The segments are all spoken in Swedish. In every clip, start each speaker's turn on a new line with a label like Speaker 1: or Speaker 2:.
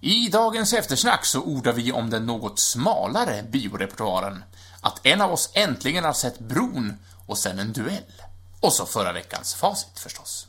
Speaker 1: I dagens eftersnack så ordar vi om den något smalare biorepertoaren. Att en av oss äntligen har sett Bron och sen en duell. Och så förra veckans facit förstås.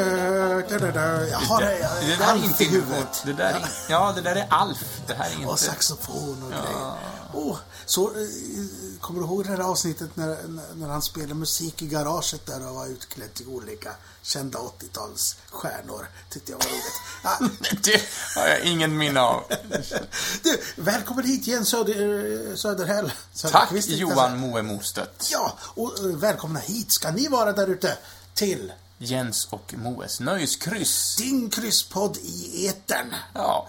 Speaker 2: Jag har det,
Speaker 1: Det
Speaker 2: jag
Speaker 1: där är
Speaker 2: har allt
Speaker 1: inte
Speaker 2: i huvudet.
Speaker 1: Det där är, ja, det där är Alf. Det här är
Speaker 2: Och
Speaker 1: inte...
Speaker 2: saxofon och grejer. Åh, så, eh, kommer du ihåg det här avsnittet när, när- när han spelade musik i garaget där och var utklädd till olika kända 80-talsstjärnor? Tyckte jag var roligt. Ah,
Speaker 1: Det har jag ingen minne av.
Speaker 2: du, välkommen hit igen Söder, eh, Söderhäll.
Speaker 1: Tack
Speaker 2: Söderqvist, tänkte jag
Speaker 1: Johan
Speaker 2: säga.
Speaker 1: Moe Mostedt.
Speaker 2: Ja, och eh, välkomna hit ska ni vara där ute till
Speaker 1: Jens och Moes nöjeskryss.
Speaker 2: din krysspodd i etern.
Speaker 1: Ja,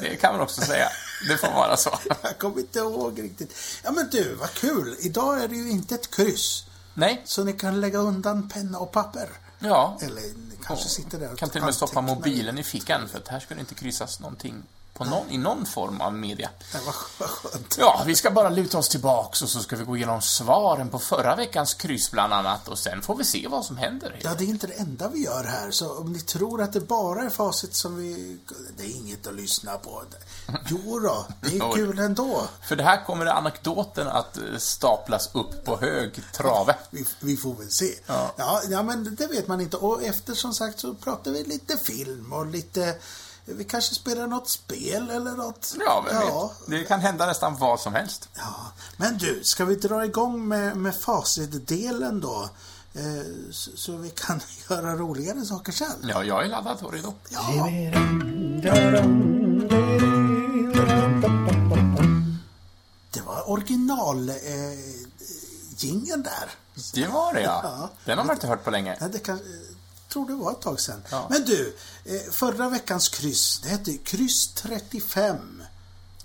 Speaker 1: det kan man också säga. Det får vara så.
Speaker 2: Jag kommer inte ihåg riktigt. Ja men du, vad kul. Idag är det ju inte ett kryss.
Speaker 1: Nej,
Speaker 2: Så ni kan lägga undan penna och papper.
Speaker 1: ja.
Speaker 2: Eller ni kanske sitter där och
Speaker 1: Kan till och med stoppa
Speaker 2: antecknar.
Speaker 1: mobilen i fickan, för att här ska det inte kryssas någonting på någon, i någon form av media.
Speaker 2: Ja, vad vad skönt.
Speaker 1: Ja, vi ska bara luta oss tillbaks och så ska vi gå igenom svaren på förra veckans kryss bland annat och sen får vi se vad som händer.
Speaker 2: Ja, det är inte det enda vi gör här. Så om ni tror att det bara är facit som vi... Det är inget att lyssna på. Jo då, det är kul ändå.
Speaker 1: För det här kommer anekdoten att eh, staplas upp på hög trave.
Speaker 2: Vi, vi får väl se.
Speaker 1: Ja.
Speaker 2: Ja, ja, men det vet man inte. Och efter som sagt så pratar vi lite film och lite... Vi kanske spelar något spel eller något.
Speaker 1: Ja, vem vet? Det kan hända nästan vad som helst.
Speaker 2: Ja, men du, ska vi dra igång med, med facitdelen då? Eh, så, så vi kan göra roligare saker sen.
Speaker 1: Ja, jag är laddad och redo.
Speaker 2: Ja, det var original eh, jingeln där.
Speaker 1: Det var det ja.
Speaker 2: Ja.
Speaker 1: Den har man inte hört på länge.
Speaker 2: Ja, det kan, eh, tror det var ett tag sedan.
Speaker 1: Ja.
Speaker 2: Men du, eh, förra veckans kryss, det hette ju kryss 35.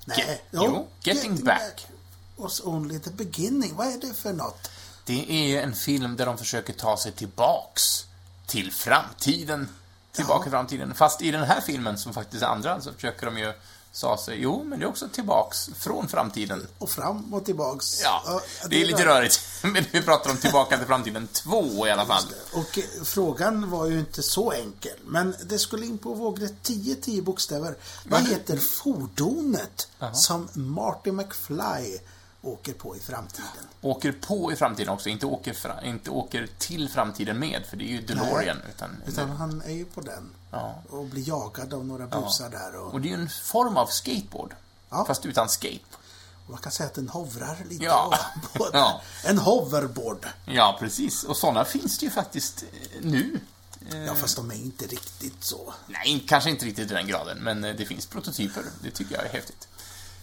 Speaker 2: Nej,
Speaker 1: Ge- jo, Getting Back.
Speaker 2: Was only the beginning. Vad är det för något?
Speaker 1: Det är en film där de försöker ta sig tillbaks till framtiden. Tillbaka till framtiden. Fast i den här filmen, som faktiskt är andra, så försöker de ju sa sig, jo, men det är också tillbaks från framtiden.
Speaker 2: Och fram och tillbaks.
Speaker 1: Ja, det är lite rörigt. Men vi pratar om Tillbaka till framtiden 2 i alla fall.
Speaker 2: Och eh, frågan var ju inte så enkel, men det skulle in på vågrätt 10, 10 bokstäver. Vad
Speaker 1: Men-
Speaker 2: heter fordonet som Marty McFly åker på i framtiden?
Speaker 1: Åker på i framtiden också, inte åker, fra, inte åker till framtiden med, för det är ju DeLorean. Utan,
Speaker 2: Utan han är ju på den
Speaker 1: Ja.
Speaker 2: och blir jagad av några busar där. Och,
Speaker 1: Och det är ju en form av skateboard.
Speaker 2: Ja.
Speaker 1: Fast utan skate.
Speaker 2: man kan säga att den hovrar lite
Speaker 1: Ja.
Speaker 2: ovanpå. där.
Speaker 1: Ja.
Speaker 2: En hoverboard.
Speaker 1: Ja, precis. Och sådana finns det ju faktiskt eh, nu. Eh.
Speaker 2: Ja, fast de är inte riktigt så.
Speaker 1: Nej, kanske inte riktigt i den graden, men eh, det finns prototyper. Det tycker jag är häftigt.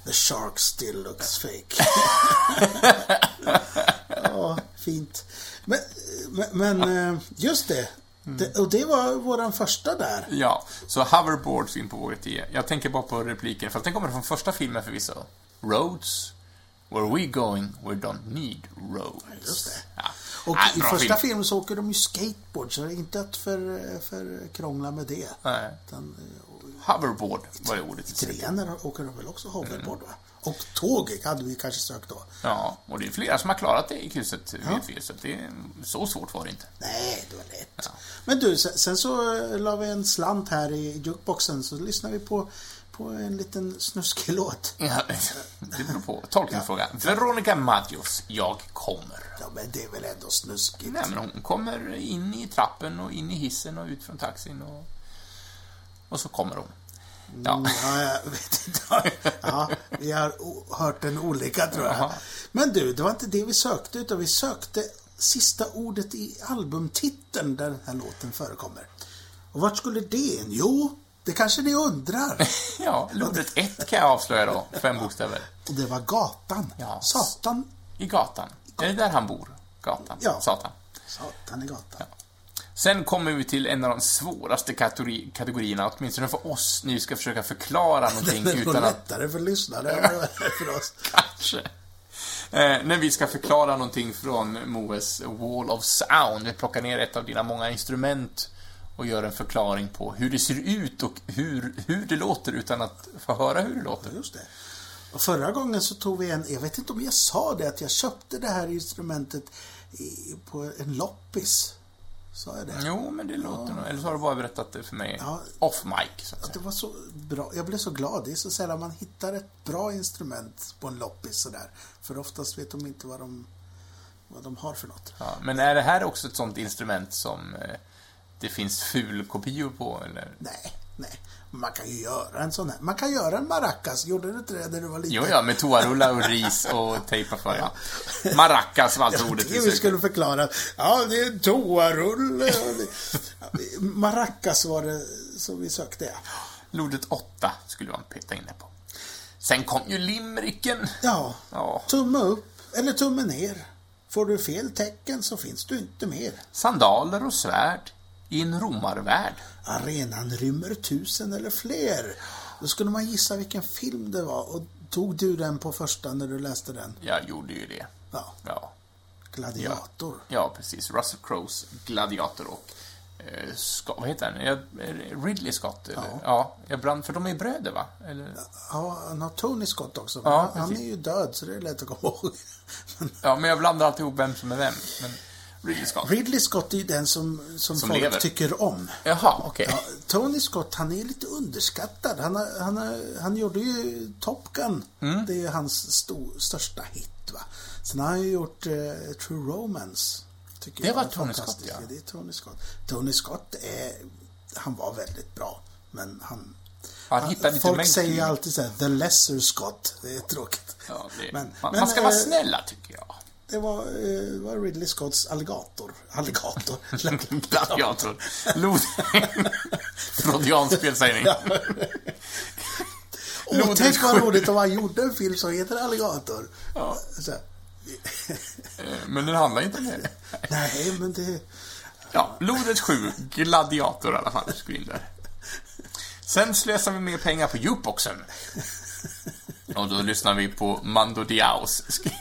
Speaker 2: The shark still looks fake. ja, fint. Men, men, men eh, just det.
Speaker 1: Mm.
Speaker 2: det. Och det var våran första där.
Speaker 1: Ja, så hoverboards in på vågrätt 10. Jag tänker bara på repliken, för den kommer från första filmen förvisso. Roads, where we going, we don't need roads.
Speaker 2: Just det.
Speaker 1: Ja.
Speaker 2: Och
Speaker 1: Nej,
Speaker 2: i
Speaker 1: bra
Speaker 2: första
Speaker 1: film.
Speaker 2: filmen så åker de ju skateboard, så det är inte att för, för krångla med det.
Speaker 1: Nej.
Speaker 2: Utan, eh, och
Speaker 1: Hoverboard var det ordet.
Speaker 2: i trean där åker de väl också hoverboard,
Speaker 1: Mm.
Speaker 2: va? Och tåg hade vi kanske sökt då.
Speaker 1: Ja, och det är flera som har klarat det i krysset, vet vi. Så att det, så svårt var det inte.
Speaker 2: Nej, det var lätt. Men du, sen, sen så eh, la vi en slant här i jukeboxen så lyssnade vi på, på en liten snuskig låt.
Speaker 1: Ja, det beror på. Tolkningsfråga. Veronica Maggios, Jag kommer.
Speaker 2: Ja, men det är väl ändå snuskigt?
Speaker 1: Nej, men hon kommer in i trappen och in i hissen och ut från taxin och... Och så kommer hon. Ja,
Speaker 2: Ja, jag vet inte. Ja, vi har o- hört den olika tror jag.
Speaker 1: Jaha.
Speaker 2: Men du, det var inte det vi sökte utan vi sökte sista ordet i albumtiteln där den här låten förekommer. Och vart skulle det in? Jo, det kanske ni undrar.
Speaker 1: ja ordet ett kan jag avslöja då. Fem bokstäver.
Speaker 2: Och det var gatan.
Speaker 1: Ja.
Speaker 2: Satan.
Speaker 1: I gatan. Är det där han bor? Gatan.
Speaker 2: Ja.
Speaker 1: Satan.
Speaker 2: Satan i gatan.
Speaker 1: Sen kommer vi till en av de svåraste kategori kategorierna, åtminstone för oss, när vi ska försöka förklara någonting
Speaker 2: Det är nog
Speaker 1: utan att...
Speaker 2: lättare för lyssnare än vad det är för oss.
Speaker 1: Kanske. Eh, när vi ska förklara någonting från Moes Wall of Sound. Vi plockar ner ett av dina många instrument och gör en förklaring på hur det ser ut och hur, hur det låter utan att få höra hur det låter.
Speaker 2: Just det. Och förra gången så tog vi en, jag vet inte om jag sa det, att jag köpte det här instrumentet i, på en loppis. Sa jag det?
Speaker 1: Jo, men det låter nog. Eller så har du bara berättat det för mig
Speaker 2: Ja.
Speaker 1: off mic, så att
Speaker 2: Att
Speaker 1: säga.
Speaker 2: det var så bra. Jag blev så glad. Det är så sällan man hittar ett bra instrument på en loppis sådär. För oftast vet de inte vad de, vad de har för något.
Speaker 1: Ja, men är det här också ett sånt instrument som eh, det finns fulkopior på, eller?
Speaker 2: Nej, nej. Man kan ju göra en sån här. Man kan göra en maracas. Gjorde du inte det när du var liten?
Speaker 1: Jo, ja, med toarullar och ris och tejpa för, ja. Maracas var alltså ordet
Speaker 2: Det
Speaker 1: vi
Speaker 2: vi
Speaker 1: sökte.
Speaker 2: skulle förklara. Ja, det är en toarulle. och det- Maracas var det som vi sökte, ja.
Speaker 1: Ordet åtta skulle man peta in det på. Sen kom ju limericken.
Speaker 2: Ja,
Speaker 1: Ja.
Speaker 2: tumme upp eller tumme ner. Får du fel tecken så finns du inte mer.
Speaker 1: Sandaler och svärd i en romarvärld.
Speaker 2: Arenan rymmer tusen eller fler. Då skulle man gissa vilken film det var och tog du den på första när du läste den?
Speaker 1: Jag gjorde ju det.
Speaker 2: Ja,
Speaker 1: Ja,
Speaker 2: Gladiator.
Speaker 1: ja precis. Russell Crowes Gladiator och eh, Scott, vad heter han? Jag, Ridley Scott? Eller? Ja. jag brann, för de är bröder va? Eller?
Speaker 2: Ja, han har Tony Scott också. men
Speaker 1: Ja,
Speaker 2: han är
Speaker 1: precis.
Speaker 2: ju död så det är lätt att komma ihåg. Men
Speaker 1: Ja, men jag blandar alltid ihop vem som är vem. Men Ridley Scott.
Speaker 2: Ridley Scott är ju den som, som, folk
Speaker 1: lever.
Speaker 2: tycker om.
Speaker 1: Jaha, okej.
Speaker 2: Ja, Tony Scott, han är lite underskattad. Han, har, han, har, han gjorde ju Top Gun.
Speaker 1: Mm.
Speaker 2: Det är ju hans sto, största hit. Va? Sen har han ju gjort eh, True Romance. Tycker
Speaker 1: Det
Speaker 2: jag
Speaker 1: var
Speaker 2: är
Speaker 1: Tony
Speaker 2: fantastisk.
Speaker 1: Scott, ja.
Speaker 2: Det är Tony Scott. Tony Scott, är, han var väldigt bra. Men han...
Speaker 1: Han hittade lite
Speaker 2: folk
Speaker 1: mainstream.
Speaker 2: säger ju alltid så här, The Lesser Scott. Det är tråkigt.
Speaker 1: Ja, det,
Speaker 2: Men-
Speaker 1: man,
Speaker 2: men,
Speaker 1: man ska vara
Speaker 2: eh,
Speaker 1: snälla, tycker jag.
Speaker 2: Det var, eh, var Ridley Scotts Alligator. Alligator.
Speaker 1: Gladiator. Loding. Freudianspel, säger ni.
Speaker 2: Åh,
Speaker 1: Lodrätt
Speaker 2: tänk vad
Speaker 1: sjuk.
Speaker 2: roligt om han gjorde en film som heter Alligator.
Speaker 1: Ja.
Speaker 2: Så här,
Speaker 1: Eh, Men den handlar inte om det.
Speaker 2: nej, men det...
Speaker 1: Ja, Lodrätt 7. Gladiator i alla fall, skriv in där. Sen slösar vi mer pengar på jukeboxen. Och då lyssnar vi på Mando Diaos. Skri-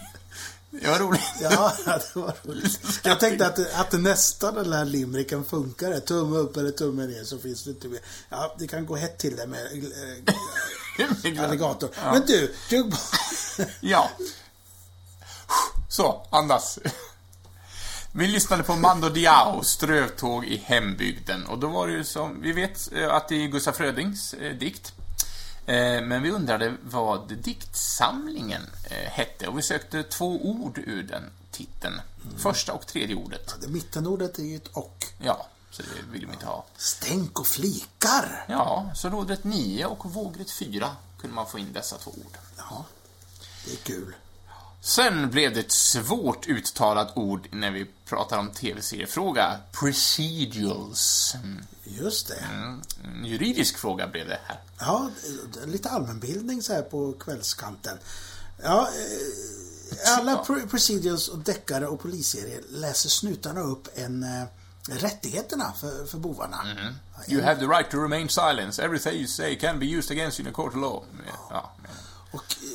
Speaker 1: Det var roligt.
Speaker 2: Ja, det var roligt. Jag tänkte att, att nästa den här limericken funkar. det. Tumme upp eller tumme ner så finns det inte mer. Ja, det kan gå hett till det med eh, Alligator. Men du, du...
Speaker 1: Ja. Så, andas. Vi lyssnade på Mando Diao, Strövtåg i hembygden. Och då var det ju som, vi vet eh, att det är Gustaf Frödings eh, dikt. Eh, Men vi undrade vad diktsamlingen eh, hette och vi sökte två ord ur den titeln. Första och tredje ordet.
Speaker 2: Mittenordet är ju ett och.
Speaker 1: Ja, så det vill vi inte ha.
Speaker 2: Stänk och flikar.
Speaker 1: Ja, så rådret 9 och vågret 4 kunde man få in dessa två ord.
Speaker 2: Ja, det är kul.
Speaker 1: Sen blev det ett svårt uttalat ord när vi pratar om tv-seriefråga. Procedurals. Mm,
Speaker 2: Just det.
Speaker 1: En juridisk fråga blev det här.
Speaker 2: Ja, det är lite allmänbildning så här på kvällskanten. Ja, eh, alla pre- presidios och deckare och polisserier läser snutarna upp en eh, rättigheterna för, för bovarna.
Speaker 1: You have the right to remain silent. Everything you say can be used against you in a court of law. Ja,
Speaker 2: Och eh,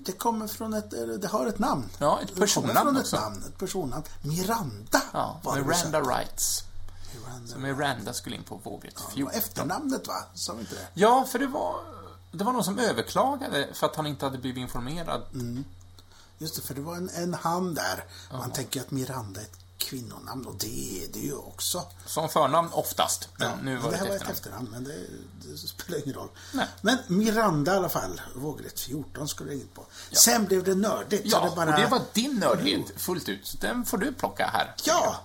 Speaker 2: det kommer från ett, eh, det har ett namn.
Speaker 1: ja ett
Speaker 2: det kommer från
Speaker 1: personnamn
Speaker 2: ett
Speaker 1: också.
Speaker 2: namn, ett personnamn. Miranda
Speaker 1: Ja,
Speaker 2: var det du
Speaker 1: Miranda
Speaker 2: sa.
Speaker 1: Rights.
Speaker 2: Miranda.
Speaker 1: Miranda skulle in på vågrätt
Speaker 2: Det var
Speaker 1: 14.
Speaker 2: efternamnet va? Sa vi inte det?
Speaker 1: Ja, för det var, det var någon som överklagade för att han inte hade blivit informerad.
Speaker 2: Mm. Just det, för det var en, en han där. Man tänker att Miranda är ett kvinnonamn och det är det ju också.
Speaker 1: Som förnamn oftast. Men nu
Speaker 2: Men
Speaker 1: var det,
Speaker 2: det här
Speaker 1: ett
Speaker 2: var ett
Speaker 1: efternamn.
Speaker 2: efternamn, men det, det spelar ingen roll.
Speaker 1: Nej.
Speaker 2: Men Miranda i alla fall, vågrätt 14 skulle jag in på. Sen blev det nördigt. så
Speaker 1: Ja,
Speaker 2: det bara... Mm.
Speaker 1: och det var din nördhet fullt ut. Så Den får du plocka här.
Speaker 2: Ja!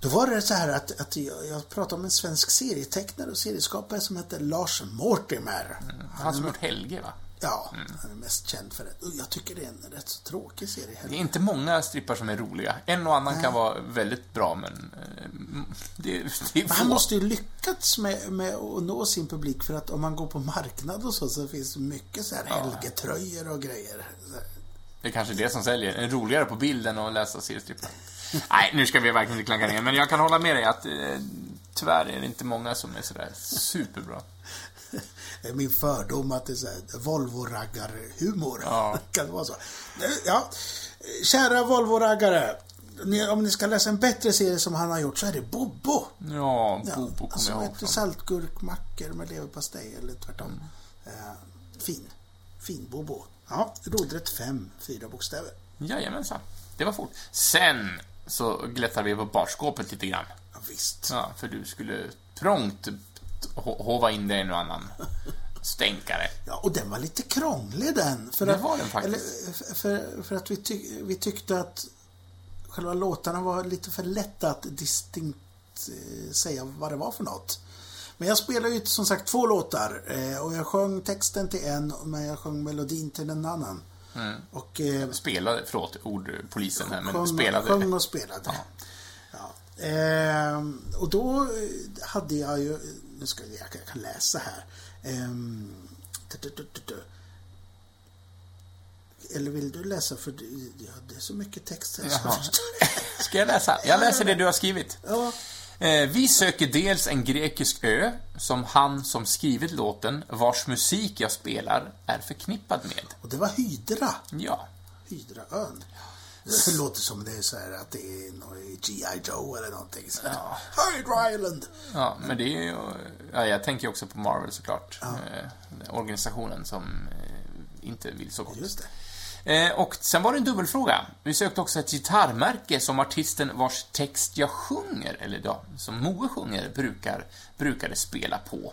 Speaker 2: Då var det så här att, att jag, jag pratade om en svensk serietecknare och serieskapare som hette Lars Mortimer.
Speaker 1: Han som gjort Helge, va?
Speaker 2: Ja,
Speaker 1: Mm.
Speaker 2: han är mest känd för det. Och jag tycker det är en rätt så tråkig serie.
Speaker 1: Det är inte många strippar som är roliga. En och annan kan vara väldigt bra, men... eh, mm, Det, det är
Speaker 2: Men han
Speaker 1: få.
Speaker 2: måste ju lyckats med, med att nå sin publik för att om man går på marknad och så, så finns det mycket så här Helge-tröjor och grejer. Så här.
Speaker 1: Det är kanske det som säljer. Det är roligare på bilden att läsa seriestrippar. Nej, nu ska vi verkligen inte klanka ner, men jag kan hålla med dig att eh, tyvärr är det inte många som är sådär superbra.
Speaker 2: eh, min fördom att det är så här, Volvo-raggar-humor.
Speaker 1: Ja.
Speaker 2: kan det vara så? Eh, Ja. Kära Volvo-raggare. Ni, om ni ska läsa en bättre serie som han har gjort så är det Bobo.
Speaker 1: Ja,
Speaker 2: Ja,
Speaker 1: Bobo kommer
Speaker 2: alltså,
Speaker 1: jag ihåg.
Speaker 2: äter
Speaker 1: från. Mm.
Speaker 2: saltgurkmackor med leverpastej eller tvärtom. Eh, fin. Fin Bobo. Ja, rodret 5, fyra bokstäver.
Speaker 1: Jajamensan. Det var fort. Sen så glättade vi på barskåpet lite grann.
Speaker 2: Ja, visst.
Speaker 1: Ja, för du skulle prångt ho- hova in dig en och annan stänkare.
Speaker 2: Ja, och den var lite krånglig den. För
Speaker 1: Det var den faktiskt.
Speaker 2: Eller, eh, f- för, för att vi, tyck, vi tyckte att själva låtarna var lite för lätta att distinkt eh, säga vad det var för något. Men jag spelade ju som sagt två låtar eh, och jag sjöng texten till en men jag sjöng melodin till en annan.
Speaker 1: Mm.
Speaker 2: Och eh,
Speaker 1: Spelade, förlåt ordpolisen här, men
Speaker 2: sjöng,
Speaker 1: spelade.
Speaker 2: sjöng och spelade. Ja. Ehm, och då eh, hade jag ju, nu ska jag, jag kan läsa här. Ehm, tu, tu, tu, tu, tu. Eller vill du läsa? För det- ja, det är så mycket text här. så jag
Speaker 1: Jaha.
Speaker 2: förstår-
Speaker 1: Ska jag läsa? Jag läser det du har skrivit.
Speaker 2: Ja,
Speaker 1: Eh, Vi söker dels en grekisk ö, som han som skrivit låten, vars musik jag spelar, är förknippad med.
Speaker 2: och det var Hydra.
Speaker 1: Ja.
Speaker 2: Hydraön. Det låter som det är så här att det är någon i G.I. Joe eller någonting. Så här. Hydra Island!
Speaker 1: Ja, men det är ju... Ja, jag tänker också på Marvel såklart. Eh, den Organisationen som eh, inte vill så gott.
Speaker 2: Just det.
Speaker 1: Eh, Och sen var det en dubbelfråga. Vi sökte också ett gitarrmärke som artisten vars text jag sjunger, eller ja, som Moe sjunger, brukar, brukade spela på.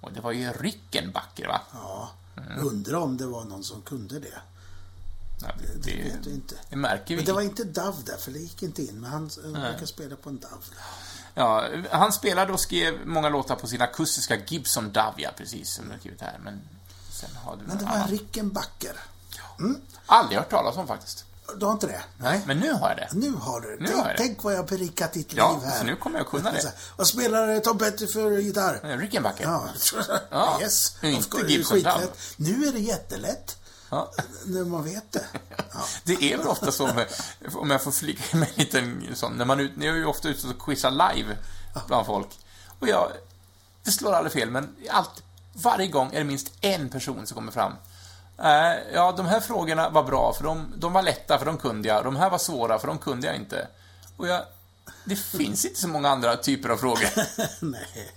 Speaker 1: Och det var ju Rickenbacker, va?
Speaker 2: Ja,
Speaker 1: Mm.
Speaker 2: undrar om det var någon som kunde det.
Speaker 1: Ja, det,
Speaker 2: Det vet du inte.
Speaker 1: det märker vi.
Speaker 2: Men det var inte Dove där, för det gick inte in. Men han eh, verkar spela på en Dove.
Speaker 1: Ja, han spelade och skrev många låtar på sin akustiska Gibson Davia, precis som du har skrivit här, men sen har du
Speaker 2: Men det
Speaker 1: någon
Speaker 2: var
Speaker 1: annan.
Speaker 2: Rickenbacker.
Speaker 1: Aldrig hört talas om faktiskt.
Speaker 2: Du har inte det? Nej.
Speaker 1: Men nu har jag det.
Speaker 2: Nu har du det.
Speaker 1: har
Speaker 2: Tänk,
Speaker 1: jag det.
Speaker 2: tänk vad jag har berikat ditt
Speaker 1: Ja,
Speaker 2: liv här.
Speaker 1: så nu kommer jag kunna det.
Speaker 2: Vad spelar eh, Tom Petty för gitarr?
Speaker 1: Eh, Rickenbacker.
Speaker 2: Ja,
Speaker 1: Ja,
Speaker 2: yes.
Speaker 1: det är inte
Speaker 2: Of course, det är
Speaker 1: Gibson Dove.
Speaker 2: skitlätt. Nu är det jättelätt.
Speaker 1: Ja.
Speaker 2: När man vet det. Ja.
Speaker 1: Det är väl ofta så, med, om jag får flika in med en liten sån, när man ut, när jag är ju ofta ute och quizar live bland folk. Och jag, det slår aldrig fel, men allt, varje gång är det minst en person som kommer fram. Äh, ja, de här frågorna var bra, för de, de var lätta, för de kunde jag. De här var svåra, för de kunde jag inte. Och jag, det finns inte så många andra typer av frågor.
Speaker 2: Nej.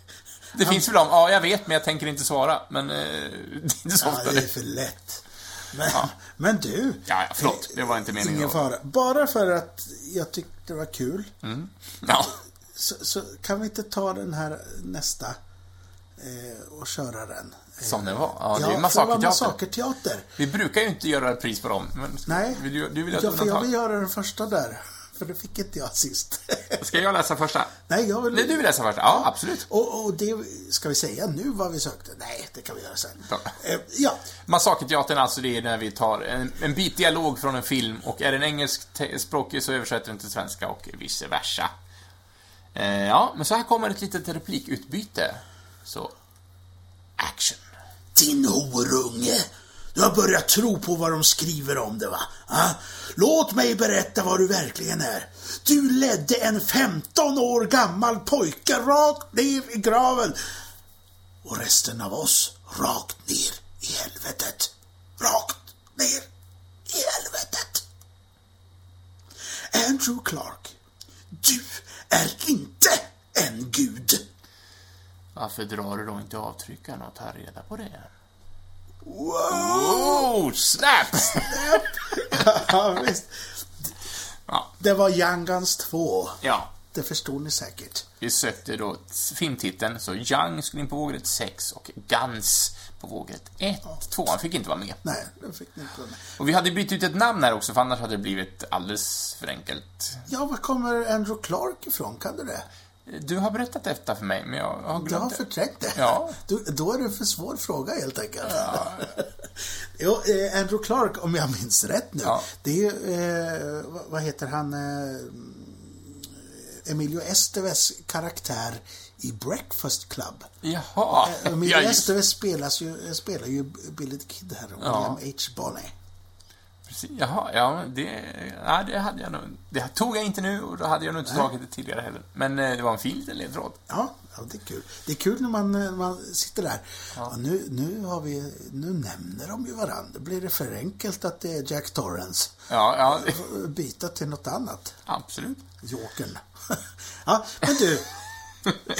Speaker 1: Det finns väl de, ja, jag vet, men jag tänker inte svara. Men eh, det är inte så
Speaker 2: Ja,
Speaker 1: ofta
Speaker 2: det är
Speaker 1: det.
Speaker 2: för lätt. Men, men du. eh,
Speaker 1: Ja, ja, förlåt. Det var inte meningen.
Speaker 2: Ingen fara. Bara för att jag tyckte det var kul.
Speaker 1: Ja.
Speaker 2: så, så kan vi inte ta den här nästa eh, och köra den? Eh,
Speaker 1: Som den var. Ja, det är ju
Speaker 2: för det var
Speaker 1: massakerteater.
Speaker 2: massakerteater.
Speaker 1: Vi brukar ju inte göra repris på dem, men ska-
Speaker 2: Nej,
Speaker 1: vill du, du vill ha ett
Speaker 2: ja, för jag
Speaker 1: undantag?
Speaker 2: vill göra den första där. För det fick inte jag sist.
Speaker 1: Ska jag läsa första?
Speaker 2: Nej, jag vill...
Speaker 1: Nej, du vill läsa första? Ja, absolut.
Speaker 2: Och, och det, ska vi säga nu vad vi sökte? Nej, det kan vi göra sen.
Speaker 1: Ja.
Speaker 2: Eh, ja,
Speaker 1: Massakerteatern, alltså, det är när vi tar en, en bit dialog från en film och är den engelskspråkig så översätter den till svenska och vice versa. Eh, ja, men så här kommer ett litet replikutbyte. Så, action.
Speaker 2: Din horunge! Du har börjat tro på vad de skriver om det va? Ah? Låt mig berätta vad du verkligen är. Du ledde en 15 år gammal pojke rakt ner i graven. Och resten av oss rakt ner i helvetet. Rakt ner i helvetet. Andrew Clark, du är inte en gud.
Speaker 1: Varför drar du då inte avtryckaren och tar reda på det?
Speaker 2: Wow!
Speaker 1: Oh, snaps!
Speaker 2: Ja, visst.
Speaker 1: Ja.
Speaker 2: Det var Young Guns 2.
Speaker 1: ja,
Speaker 2: Det förstod ni säkert.
Speaker 1: Vi sökte då filmtiteln, så Young skulle in på vågrätt 6 och Guns på vågrätt 1. Tvåan fick inte vara med.
Speaker 2: Nej, det fick ni inte vara med.
Speaker 1: Och vi hade bytt ut ett namn här också, för annars hade det blivit alldeles för enkelt.
Speaker 2: Ja, var kommer Andrew Clark ifrån? Kan du det?
Speaker 1: Du har berättat detta för mig, men jag har
Speaker 2: Du har
Speaker 1: glömt det.
Speaker 2: förträngt det.
Speaker 1: Ja.
Speaker 2: Du, då är det en för svår fråga helt enkelt. jo, eh, Andrew Clark, om jag minns rätt nu,
Speaker 1: Ja.
Speaker 2: det är ju, eh, vad- vad heter han, eh, Emilio Esteves karaktär i Breakfast Club.
Speaker 1: Jaha.
Speaker 2: Emilio
Speaker 1: Ja, just-
Speaker 2: Esteves spelas ju, spelar ju Billy the Kid här, och William H. Bonney.
Speaker 1: Precis. Jaha, ja, men det, nej, det hade jag nog. Det tog jag inte nu och då hade jag nog inte tagit det tidigare heller. Men eh, det var en fin liten ledtråd.
Speaker 2: Ja, ja, det är kul. Det är kul när man, eh, när man sitter där. Ja, nu, nu, har vi, nu nämner de ju varandra. Då blir det för enkelt att det är Jack Torrance.
Speaker 1: Ja, ja, det-
Speaker 2: Får Byta till något annat.
Speaker 1: absolut.
Speaker 2: Jokern. ja, men du.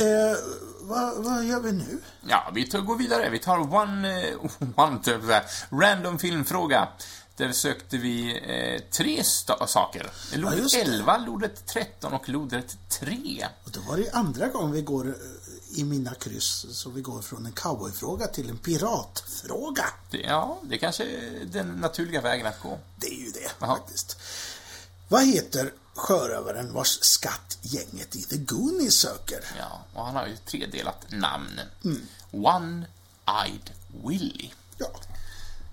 Speaker 2: eh, vad, vad gör vi nu?
Speaker 1: Ja, vi tar, går vidare. Vi tar One... eh, one typ så här, random filmfråga. Där sökte vi eh, tre sta- saker. Lodrätt
Speaker 2: just det.
Speaker 1: 11, lodrätt 13 och lodrätt 3.
Speaker 2: Och då var det ju andra gången vi går eh, i mina kryss, så vi går från en cowboyfråga till en piratfråga.
Speaker 1: Det, ja, det kanske är den naturliga vägen att gå.
Speaker 2: Det är ju det,
Speaker 1: Jaha.
Speaker 2: faktiskt. Vad heter sjörövaren vars skatt gänget i The Goonies söker?
Speaker 1: Ja, och han har ju ett tredelat namn.
Speaker 2: Mm.
Speaker 1: One-Eyed Willy.
Speaker 2: Ja,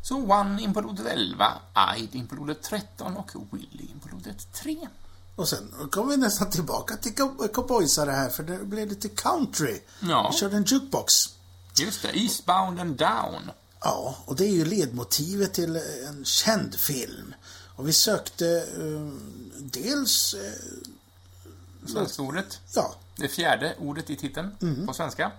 Speaker 1: Så One in på lodrätt 11, Eyed in på lodrätt 13 och Willy in på lodrätt 3.
Speaker 2: Och sen då kom vi nästan tillbaka till cow- cowboysare här, för det blev lite country.
Speaker 1: Ja.
Speaker 2: Vi körde en jukebox.
Speaker 1: Just det, Eastbound and Down.
Speaker 2: Ja, och det är ju ledmotivet till eh, en känd film. Och vi sökte eh, dels, eh,
Speaker 1: Svenska ordet.
Speaker 2: ja,
Speaker 1: Det fjärde ordet i titeln
Speaker 2: Mm.
Speaker 1: på svenska.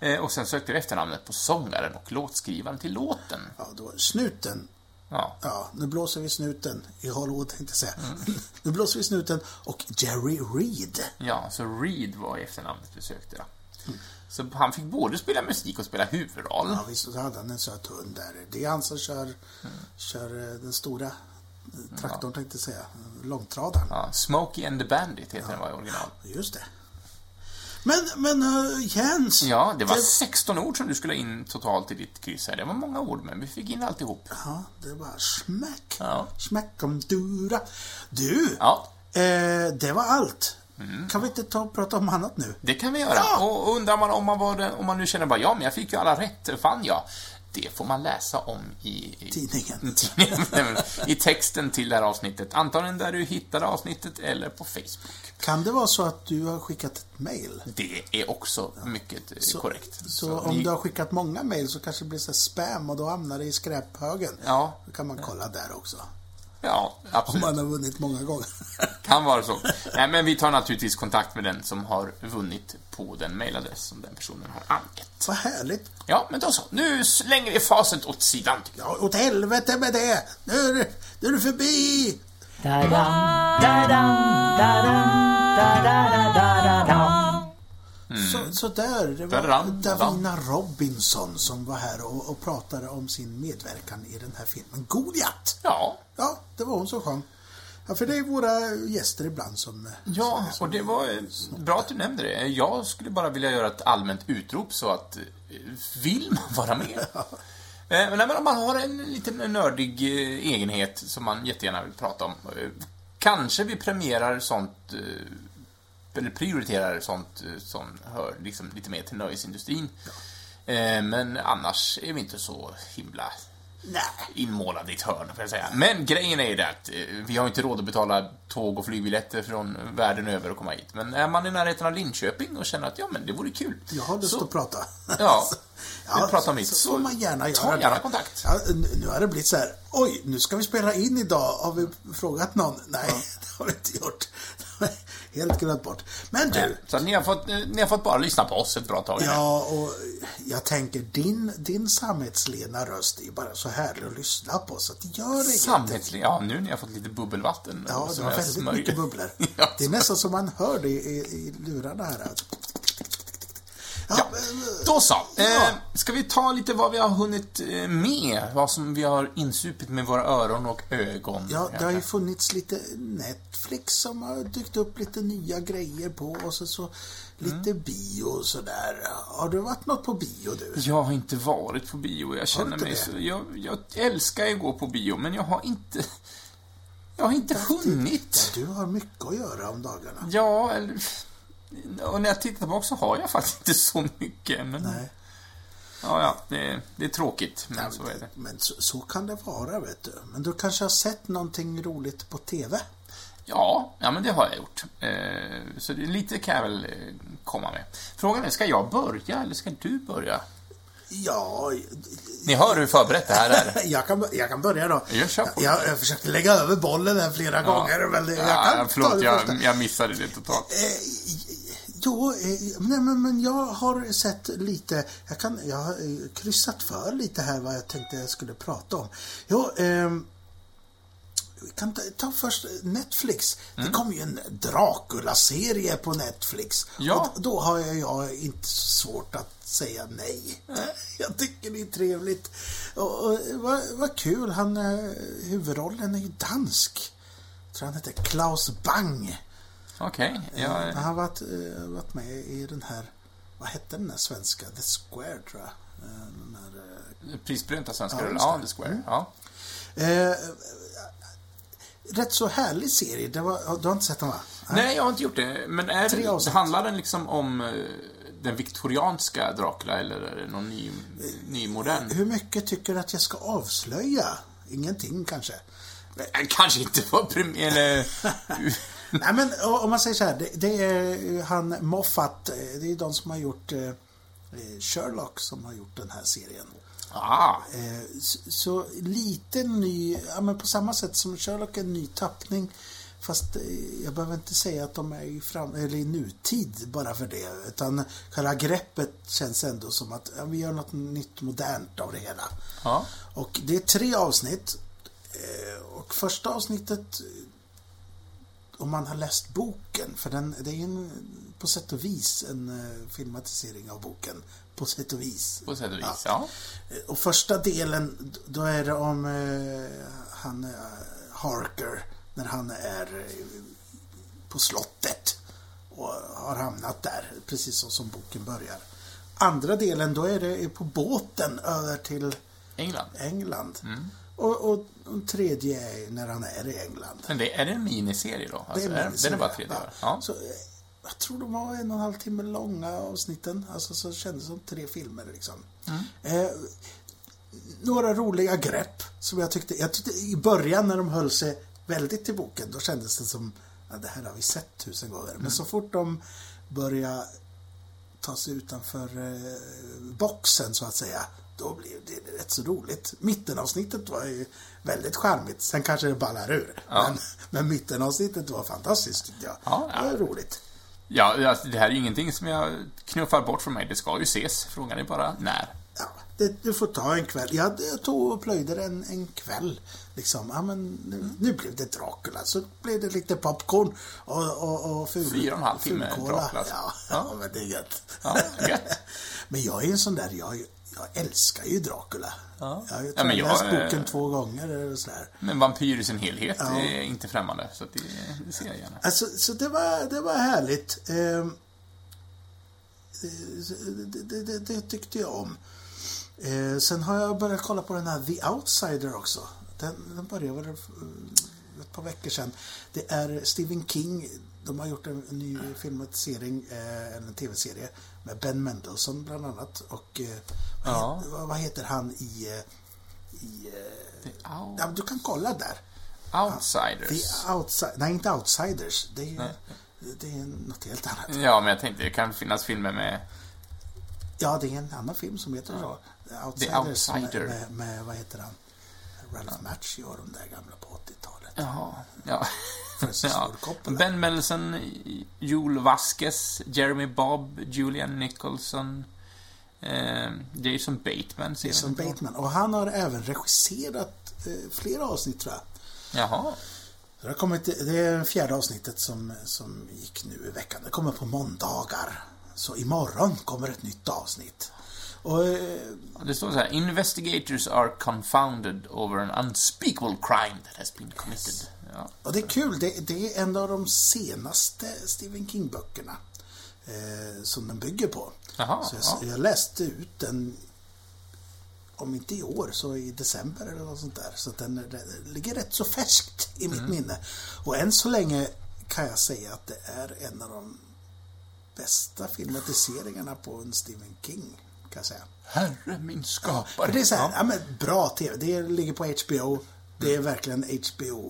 Speaker 1: Eh, och sen sökte vi efternamnet på sångaren och låtskrivaren till låten.
Speaker 2: ja då, snuten.
Speaker 1: Ja,
Speaker 2: Ja, nu blåser vi snuten i Hollywood tänkte jag säga. nu blåser vi snuten och Jerry Reed.
Speaker 1: ja så Reed var efternamnet vi sökte. Då. Så han fick både spela musik och spela huvudroll.
Speaker 2: Mm. Ja, visst, och så hade han en söt hund där. Det är han som kör, kör eh, den stora eh, traktorn tänkte jag säga, långtradaren.
Speaker 1: Ja, Smokey and the Bandit heter den var i original.
Speaker 2: Just det. Men, men eh, Jens!
Speaker 1: Ja, det var 16 ord som du skulle ha in totalt i ditt kryss här. Det var många ord, men vi fick in alltihop.
Speaker 2: Ja, det var smäck.
Speaker 1: Ja.
Speaker 2: Smäck om dura. Du!
Speaker 1: Ja, Mm.
Speaker 2: Eh, det var allt. Kan vi inte ta och prata om annat nu?
Speaker 1: Det kan vi göra.
Speaker 2: Ja.
Speaker 1: Och undrar man om man, var den, om man nu känner bara ja, men jag fick ju alla rätt, vann jag? Det får man läsa om i, i Mm,
Speaker 2: Tidningen.
Speaker 1: tidningen, nämligen, i texten till det här avsnittet. Antagligen där du hittade avsnittet eller på Facebook.
Speaker 2: Kan det vara så att du har skickat ett mejl?
Speaker 1: Det är också mycket eh, korrekt.
Speaker 2: Så, om
Speaker 1: ni-
Speaker 2: du har skickat många mejl så kanske det blir så här spam och då hamnar det i skräphögen.
Speaker 1: Ja.
Speaker 2: Då kan man kolla där också.
Speaker 1: Ja,
Speaker 2: Om
Speaker 1: absolut.
Speaker 2: man har vunnit många gånger.
Speaker 1: Kan vara så. Nej, men vi tar naturligtvis kontakt med den som har vunnit på den mailadress som den personen har angett.
Speaker 2: Vad härligt.
Speaker 1: Ja, men då så. Nu slänger vi facit åt sidan, tycker jag.
Speaker 2: Ja, åt helvete med det! Nu är det, nu är det förbi!
Speaker 3: Da-dam, da-dam, da-dam, da-da-da-da-da.
Speaker 1: Mm.
Speaker 2: Så, så där, det var
Speaker 1: Dadadam, dadam.
Speaker 2: Davina Robinson som var här och, och pratade om sin medverkan i den här filmen Goliat.
Speaker 1: Ja,
Speaker 2: Ja, det var hon som sjöng. Ja, för det är våra gäster ibland som...
Speaker 1: Ja, och det var eh, bra att du nämnde det. Jag skulle bara vilja göra ett allmänt utrop så att eh, vill man vara med? Eh, Men nej, men om man har en liten nördig eh, egenhet som man jättegärna vill prata om. eh, Kanske vi premierar sånt, eh, eller prioriterar sånt eh, som hör liksom lite mer till nöjesindustrin. Eh, Men annars är vi inte så himla
Speaker 2: Nej.
Speaker 1: inmålad i ett hörn, får jag säga. Men grejen är ju det att eh, vi har ju inte råd att betala tåg och flygbiljetter från världen över och komma hit. Men är man i närheten av Linköping och känner att ja, men det vore kul.
Speaker 2: Jag har lust
Speaker 1: så,
Speaker 2: att prata.
Speaker 1: Ja, vi pratar om
Speaker 2: så,
Speaker 1: mitt.
Speaker 2: så får man gärna göra
Speaker 1: ta gärna
Speaker 2: det.
Speaker 1: kontakt.
Speaker 2: Ja, nu- nu har det blivit så här, oj, nu ska vi spela in idag. Har vi frågat någon? Nej, det har vi inte gjort. Helt glömt bort. Men du,
Speaker 1: Så att ni har, fått, eh, ni har fått bara lyssna på oss ett bra tag.
Speaker 2: Ja, och jag tänker din, din sammetslena röst är ju bara så härlig att lyssna på så att det gör inget.
Speaker 1: Samhällsliv. Ja, nu när jag fått lite bubbelvatten.
Speaker 2: Ja, det
Speaker 1: som
Speaker 2: var
Speaker 1: jag
Speaker 2: väldigt
Speaker 1: smörjer.
Speaker 2: mycket bubblor.
Speaker 1: Ja.
Speaker 2: Det är nästan som man hör det i, i lurarna här. att- Ja,
Speaker 1: Ja,
Speaker 2: men-
Speaker 1: då så.
Speaker 2: Ja.
Speaker 1: Eh, ska vi ta lite vad vi har hunnit eh, med? Vad som vi har insupit med våra öron och ögon.
Speaker 2: ja, det har ju funnits lite Netflix som har dykt upp lite nya grejer på och så, så lite
Speaker 1: Mm.
Speaker 2: bio och sådär. Har du varit något på bio du?
Speaker 1: Jag har inte varit på bio. Jag känner
Speaker 2: inte
Speaker 1: mig
Speaker 2: det?
Speaker 1: så, jag, jag älskar ju att gå på bio, men jag har inte... Jag har inte hunnit.
Speaker 2: Du har mycket att göra om dagarna.
Speaker 1: Ja, eller... Och när jag tittar tillbaka så har jag faktiskt inte så mycket. Men,
Speaker 2: Nej.
Speaker 1: Ja, ja, det, det är tråkigt, men så är det.
Speaker 2: Men så, så kan det vara, vet du. Men du kanske har sett någonting roligt på TV?
Speaker 1: Ja, ja, men det har jag gjort. Eh, så det, lite kan jag väl eh, komma med. Frågan är, ska jag börja eller ska du börja?
Speaker 2: Ja,
Speaker 1: Ni hör hur förberett det här är.
Speaker 2: jag kan, jag kan börja då.
Speaker 1: Ja, kör på.
Speaker 2: jag, jag försökte lägga över bollen här flera gånger, men det- jag kan
Speaker 1: ja,
Speaker 2: ta
Speaker 1: förlåt,
Speaker 2: det första.
Speaker 1: jag, jag missade det totalt.
Speaker 2: Eh, Jo, eh, nej, men, men jag har sett lite, jag, kan, jag har eh, kryssat för lite här vad jag tänkte jag skulle prata om. Jo, ehm, vi kan ta, ta först Netflix. Det kom ju en Dracula-serie på Netflix.
Speaker 1: Ja.
Speaker 2: Och då har jag, jag inte så svårt att säga nej. Jag tycker det är trevligt. Och, och, vad, vad kul, han, eh, huvudrollen är ju dansk. Jag tror han heter Klaus Bang.
Speaker 1: Okej, jag...
Speaker 2: Han har varit, eh, varit med i den här, vad hette den där svenska? The Square tror jag. Eh, Den här, eh,
Speaker 1: Prisbelönta svenska
Speaker 2: Ja,
Speaker 1: rullar.
Speaker 2: just
Speaker 1: Ja,
Speaker 2: det.
Speaker 1: The Square. Ja.
Speaker 2: eh, eh, rätt så härlig serie. Det var, du har inte sett den va?
Speaker 1: Nej, jag har inte gjort det. Men är
Speaker 2: Tre
Speaker 1: det,
Speaker 2: avsnitt.
Speaker 1: handlar den liksom om eh, den viktorianska Dracula eller är det någon ny, nymodern?
Speaker 2: Hur mycket tycker du att jag ska avslöja? Ingenting kanske.
Speaker 1: Eh, Kanske inte på premiär... Eller...
Speaker 2: Nej men o- om man säger så här, det, det är ju han Moffat, eh, det är ju de som har gjort eh, eh, Sherlock som har gjort den här serien.
Speaker 1: ah,
Speaker 2: Eh, s- Så lite ny, ja men på samma sätt som Sherlock, en ny tappning. Fast eh, jag behöver inte säga att de är i, fram, eller i nutid bara för det. Utan själva greppet känns ändå som att ja, vi gör något nytt modernt av det hela.
Speaker 1: ja.
Speaker 2: Och det är tre avsnitt. Eh, Och första avsnittet, eh, om man har läst boken, för den, det är ju en, på sätt och vis en eh, filmatisering av boken. På sätt och vis.
Speaker 1: På sätt och vis, ja.
Speaker 2: Och första delen, då är det om eh, han eh, Harker, när han är eh, på slottet och har hamnat där, precis så som boken börjar. Andra delen, då är det på båten över till
Speaker 1: England.
Speaker 2: England. Och, och, och tredje är när han är i England.
Speaker 1: Men det, är det en miniserie då? Alltså, är, den är bara tre
Speaker 2: Ja.
Speaker 1: dagar? Ja.
Speaker 2: Så, eh, jag tror de var en och en halv timme långa avsnitten. Alltså så kändes det som tre filmer liksom.
Speaker 1: Mm.
Speaker 2: Eh, några roliga grepp som jag tyckte, jag tyckte i början när de höll sig väldigt till boken, då kändes det som ja, det här har vi sett tusen gånger.
Speaker 1: Mm.
Speaker 2: Men så fort de började ta sig utanför eh, boxen så att säga, då blev det rätt så roligt. Mittenavsnittet var ju väldigt charmigt. Sen kanske det ballar ur. Men, men mittenavsnittet var fantastiskt tyckte jag.
Speaker 1: Ja, ja.
Speaker 2: Det var roligt.
Speaker 1: Ja, alltså, det här är ju ingenting som jag knuffar bort från mig. Det ska ju ses. Frågan är bara när.
Speaker 2: Ja, det, du får ta en kväll. Jag, jag tog och plöjde en, en kväll. Liksom. Ja, men nu, nu blev det Dracula, så blev det lite popcorn och, och, och ful,
Speaker 1: Fyra och en halv timme
Speaker 2: fulkola.
Speaker 1: Dracula. alltså.
Speaker 2: Ja,
Speaker 1: Ja.
Speaker 2: ja. men det är gött.
Speaker 1: Ja, gött.
Speaker 2: men jag är en sån där, jag, jag älskar ju Dracula.
Speaker 1: Ja.
Speaker 2: Jag har ju
Speaker 1: Ja, men jag,
Speaker 2: läst
Speaker 1: eh,
Speaker 2: boken två gånger eller sådär.
Speaker 1: Men vampyr i sin helhet är inte främmande, så att det, det ser jag gärna.
Speaker 2: Alltså, så det var, det var härligt. Ehm, det, det, det, det tyckte jag om. Eh, sen har jag börjat kolla på den här The Outsider också. Den, den började väl eh, ett par veckor sedan. Det är Stephen King. De har gjort en ny filmatisering, eh, en tv-serie med Ben Mendelsohn bland annat. Och eh, vad,
Speaker 1: Ja.
Speaker 2: heter, vad- vad heter han i... eh, i eh,
Speaker 1: Out,
Speaker 2: ja, du kan kolla där. The
Speaker 1: outsiders.
Speaker 2: outside, nej, inte Outsiders. Det är, ju- det är något helt annat.
Speaker 1: Ja, men jag tänkte, det kan finnas filmer med...
Speaker 2: Ja, det är en annan film som heter så. Outsiders
Speaker 1: Outsider.
Speaker 2: Med, med, med, vad heter han? Ralph Macchio och de där gamla på 80-talet.
Speaker 1: Jaha, ja.
Speaker 2: Francis Ford Coppola.
Speaker 1: Ben Mendelsohn, Joel Vasquez, Jeremy Bob, Julian Nicholson, eh, Jason Bateman. ser jag
Speaker 2: Jason
Speaker 1: inte.
Speaker 2: Bateman. Och han har även regisserat eh, flera avsnitt tror jag.
Speaker 1: Jaha.
Speaker 2: Så det, har kommit, det är fjärde avsnittet som, som gick nu i veckan. Det kommer på måndagar. Så imorgon kommer ett nytt avsnitt. Och eh,
Speaker 1: Det står så här, Investigators are confounded over an unspeakable crime that has been committed. Ja.
Speaker 2: Och det är kul, det, det är en av de senaste Stephen King-böckerna eh, som den bygger på.
Speaker 1: Jaha,
Speaker 2: så jag,
Speaker 1: ja.
Speaker 2: jag läste ut den, om inte i år, så i december eller något sånt där. Så att den, är- den ligger rätt så färskt i
Speaker 1: Mm.
Speaker 2: mitt minne. Och än så länge kan jag säga att det är en av de bästa filmatiseringarna på en Stephen King, kan jag säga.
Speaker 1: Herre min skapare.
Speaker 2: För det är så här,
Speaker 1: Ja.
Speaker 2: ja. men bra TV. Det ligger på HBO. Det är verkligen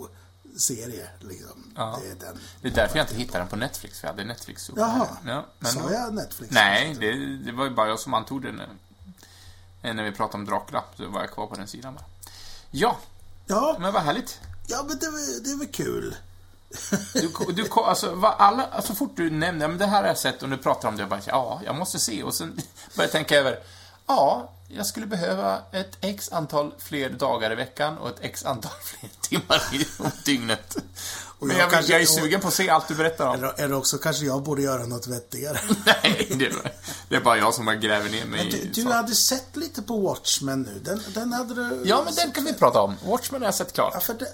Speaker 2: HBO-serie, liksom.
Speaker 1: Ja.
Speaker 2: Det är den.
Speaker 1: Det är därför jag inte hittade den på Netflix, för jag hade Netflix uppe
Speaker 2: Jaha.
Speaker 1: här. Ja, men...
Speaker 2: Sa jag Netflix?
Speaker 1: Nej, det, det var ju bara jag som antog den. Eh, När vi pratade om Dracula, så var jag kvar på den sidan bara. Ja,
Speaker 2: Ja,
Speaker 1: men vad härligt.
Speaker 2: ja men det, är väl- det är väl kul.
Speaker 1: Du, ko- du, ko- alltså, vad alla, så alltså, fort du nämner, "Ja, men det här har jag sett och nu pratar om det, jag bara, ja, jag måste se. Och sen börjar jag tänka över, ja, jag skulle behöva ett x antal fler dagar i veckan och ett x antal fler timmar i om dygnet. Men
Speaker 2: jag
Speaker 1: jag, vill-
Speaker 2: kanske-
Speaker 1: jag är sugen på att se allt du berättar om.
Speaker 2: Eller, eller också kanske jag borde göra något vettigare.
Speaker 1: Nej, det är, det är bara jag som har gräver ner mig
Speaker 2: Du,
Speaker 1: i
Speaker 2: du
Speaker 1: saker.
Speaker 2: hade sett lite på Watchmen nu. Den, den hade du...
Speaker 1: Ja, men den kan vi prata om. Watchmen har jag sett klart.
Speaker 2: Ja, för det,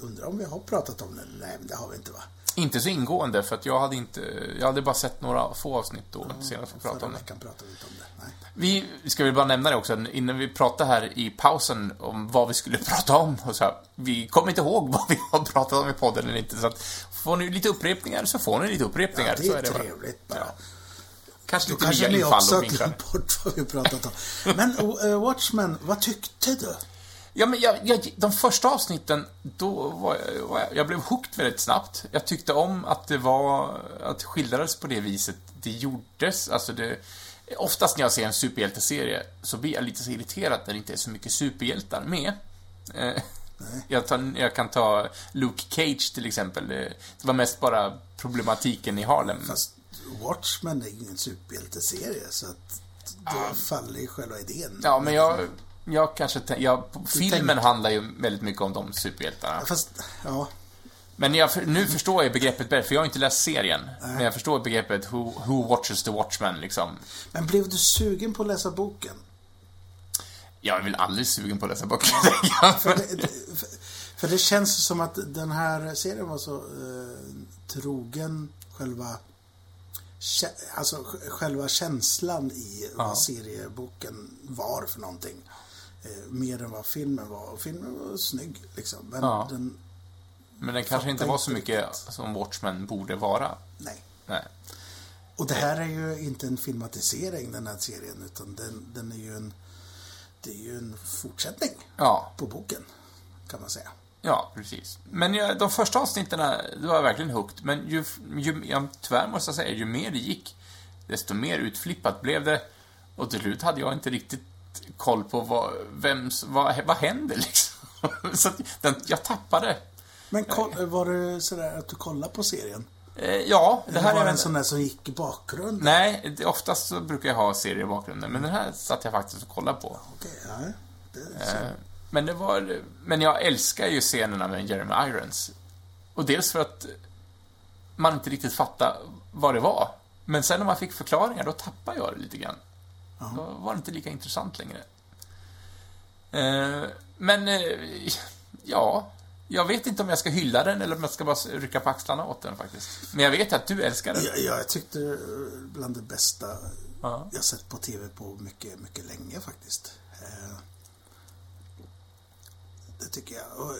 Speaker 2: undrar om vi har pratat om den? Nej, men det har vi inte va?
Speaker 1: Inte så ingående, för att jag hade inte... Jag hade bara sett några få avsnitt då,
Speaker 2: Mm,
Speaker 1: senast vi pratade
Speaker 2: Förra
Speaker 1: om det.
Speaker 2: veckan pratade vi inte om det. Nej.
Speaker 1: Vi ska väl bara nämna det också, innan vi pratade här i pausen om vad vi skulle prata om och så här, Vi kommer inte ihåg vad vi har pratat om i podden eller inte, så att får ni lite upprepningar så får ni lite upprepningar.
Speaker 2: Ja, det
Speaker 1: så
Speaker 2: är
Speaker 1: bara.
Speaker 2: trevligt bara.
Speaker 1: Ja. Kanske lite
Speaker 2: Kanske
Speaker 1: nya
Speaker 2: ni
Speaker 1: infall
Speaker 2: också har
Speaker 1: och vinklar.
Speaker 2: glömt bort vad vi pratat om. Men eh, Watchmen, vad tyckte du?
Speaker 1: Ja, men jag, jag, de första avsnitten, då var jag, var jag, jag blev hooked väldigt snabbt. Jag tyckte om att det var, att det skildrades på det viset det gjordes. Alltså det, oftast när jag ser en superhjälteserie så blir jag lite så irriterad när det inte är så mycket superhjältar med. Eh, Jag, tar, jag kan ta Luke Cage till exempel. Det det var mest bara problematiken i Harlem.
Speaker 2: Fast Watchmen är ju ingen superhjälteserie så att då faller ju själva idén.
Speaker 1: Ja, men jag, jag kanske tän- jag, Filmen
Speaker 2: tänkte-
Speaker 1: handlar ju väldigt mycket om de superhjältarna.
Speaker 2: Fast, ja.
Speaker 1: Men jag, för- nu förstår jag begreppet bättre, för jag har inte läst serien. Men jag förstår begreppet who, who watches the watchman, liksom.
Speaker 2: Men blev du sugen på att läsa boken?
Speaker 1: Jag är väl aldrig sugen på att läsa böcker. tänker jag.
Speaker 2: För det, det- för- för det känns som att den här serien var så eh, trogen själva kä- Alltså sj- själva känslan i vad serieboken var för någonting. Eh, mer än vad filmen var. Och filmen var snygg liksom. Men
Speaker 1: Ja.
Speaker 2: den,
Speaker 1: Men den kanske inte
Speaker 2: Fattar
Speaker 1: var så
Speaker 2: inte
Speaker 1: mycket som watchman borde vara.
Speaker 2: nej.
Speaker 1: Nej.
Speaker 2: Och det här är ju inte en filmatisering den här serien utan den, den är ju en Det är ju en fortsättning
Speaker 1: Ja,
Speaker 2: på boken. Kan man säga.
Speaker 1: ja, precis. Men jag, de första avsnitten, då var jag verkligen hooked. Men ju, ju, jag, tyvärr måste jag säga, ju mer det gick, desto mer utflippat blev det. Och till slut hade jag inte riktigt koll på vad, vems, vad, vad händer liksom. Så att den, jag tappade.
Speaker 2: Men koll, var det sådär att du kollade på serien?
Speaker 1: Eh, ja, det
Speaker 2: Det
Speaker 1: här
Speaker 2: var
Speaker 1: är
Speaker 2: en sån där som gick i bakgrunden.
Speaker 1: Nej, det- oftast så brukar jag ha serier i bakgrunden, men den här satt jag faktiskt och kollade på.
Speaker 2: Okej, ja. Det, så.
Speaker 1: Men det var... Men jag älskar ju scenerna med Jeremy Irons. Och dels för att man inte riktigt fattade vad det var. Men sen när man fick förklaringar, då tappade jag det lite grann. Då var det inte lika intressant längre. Eh, Men, eh, ja... Jag vet inte om jag ska hylla den eller om jag ska bara rycka på axlarna åt den faktiskt. Men jag vet att du älskar den.
Speaker 2: Ja, ja, jag tyckte det var bland det bästa
Speaker 1: Ja.
Speaker 2: jag sett på TV på mycket, mycket länge faktiskt. Eh, Det tycker jag. Och, eh,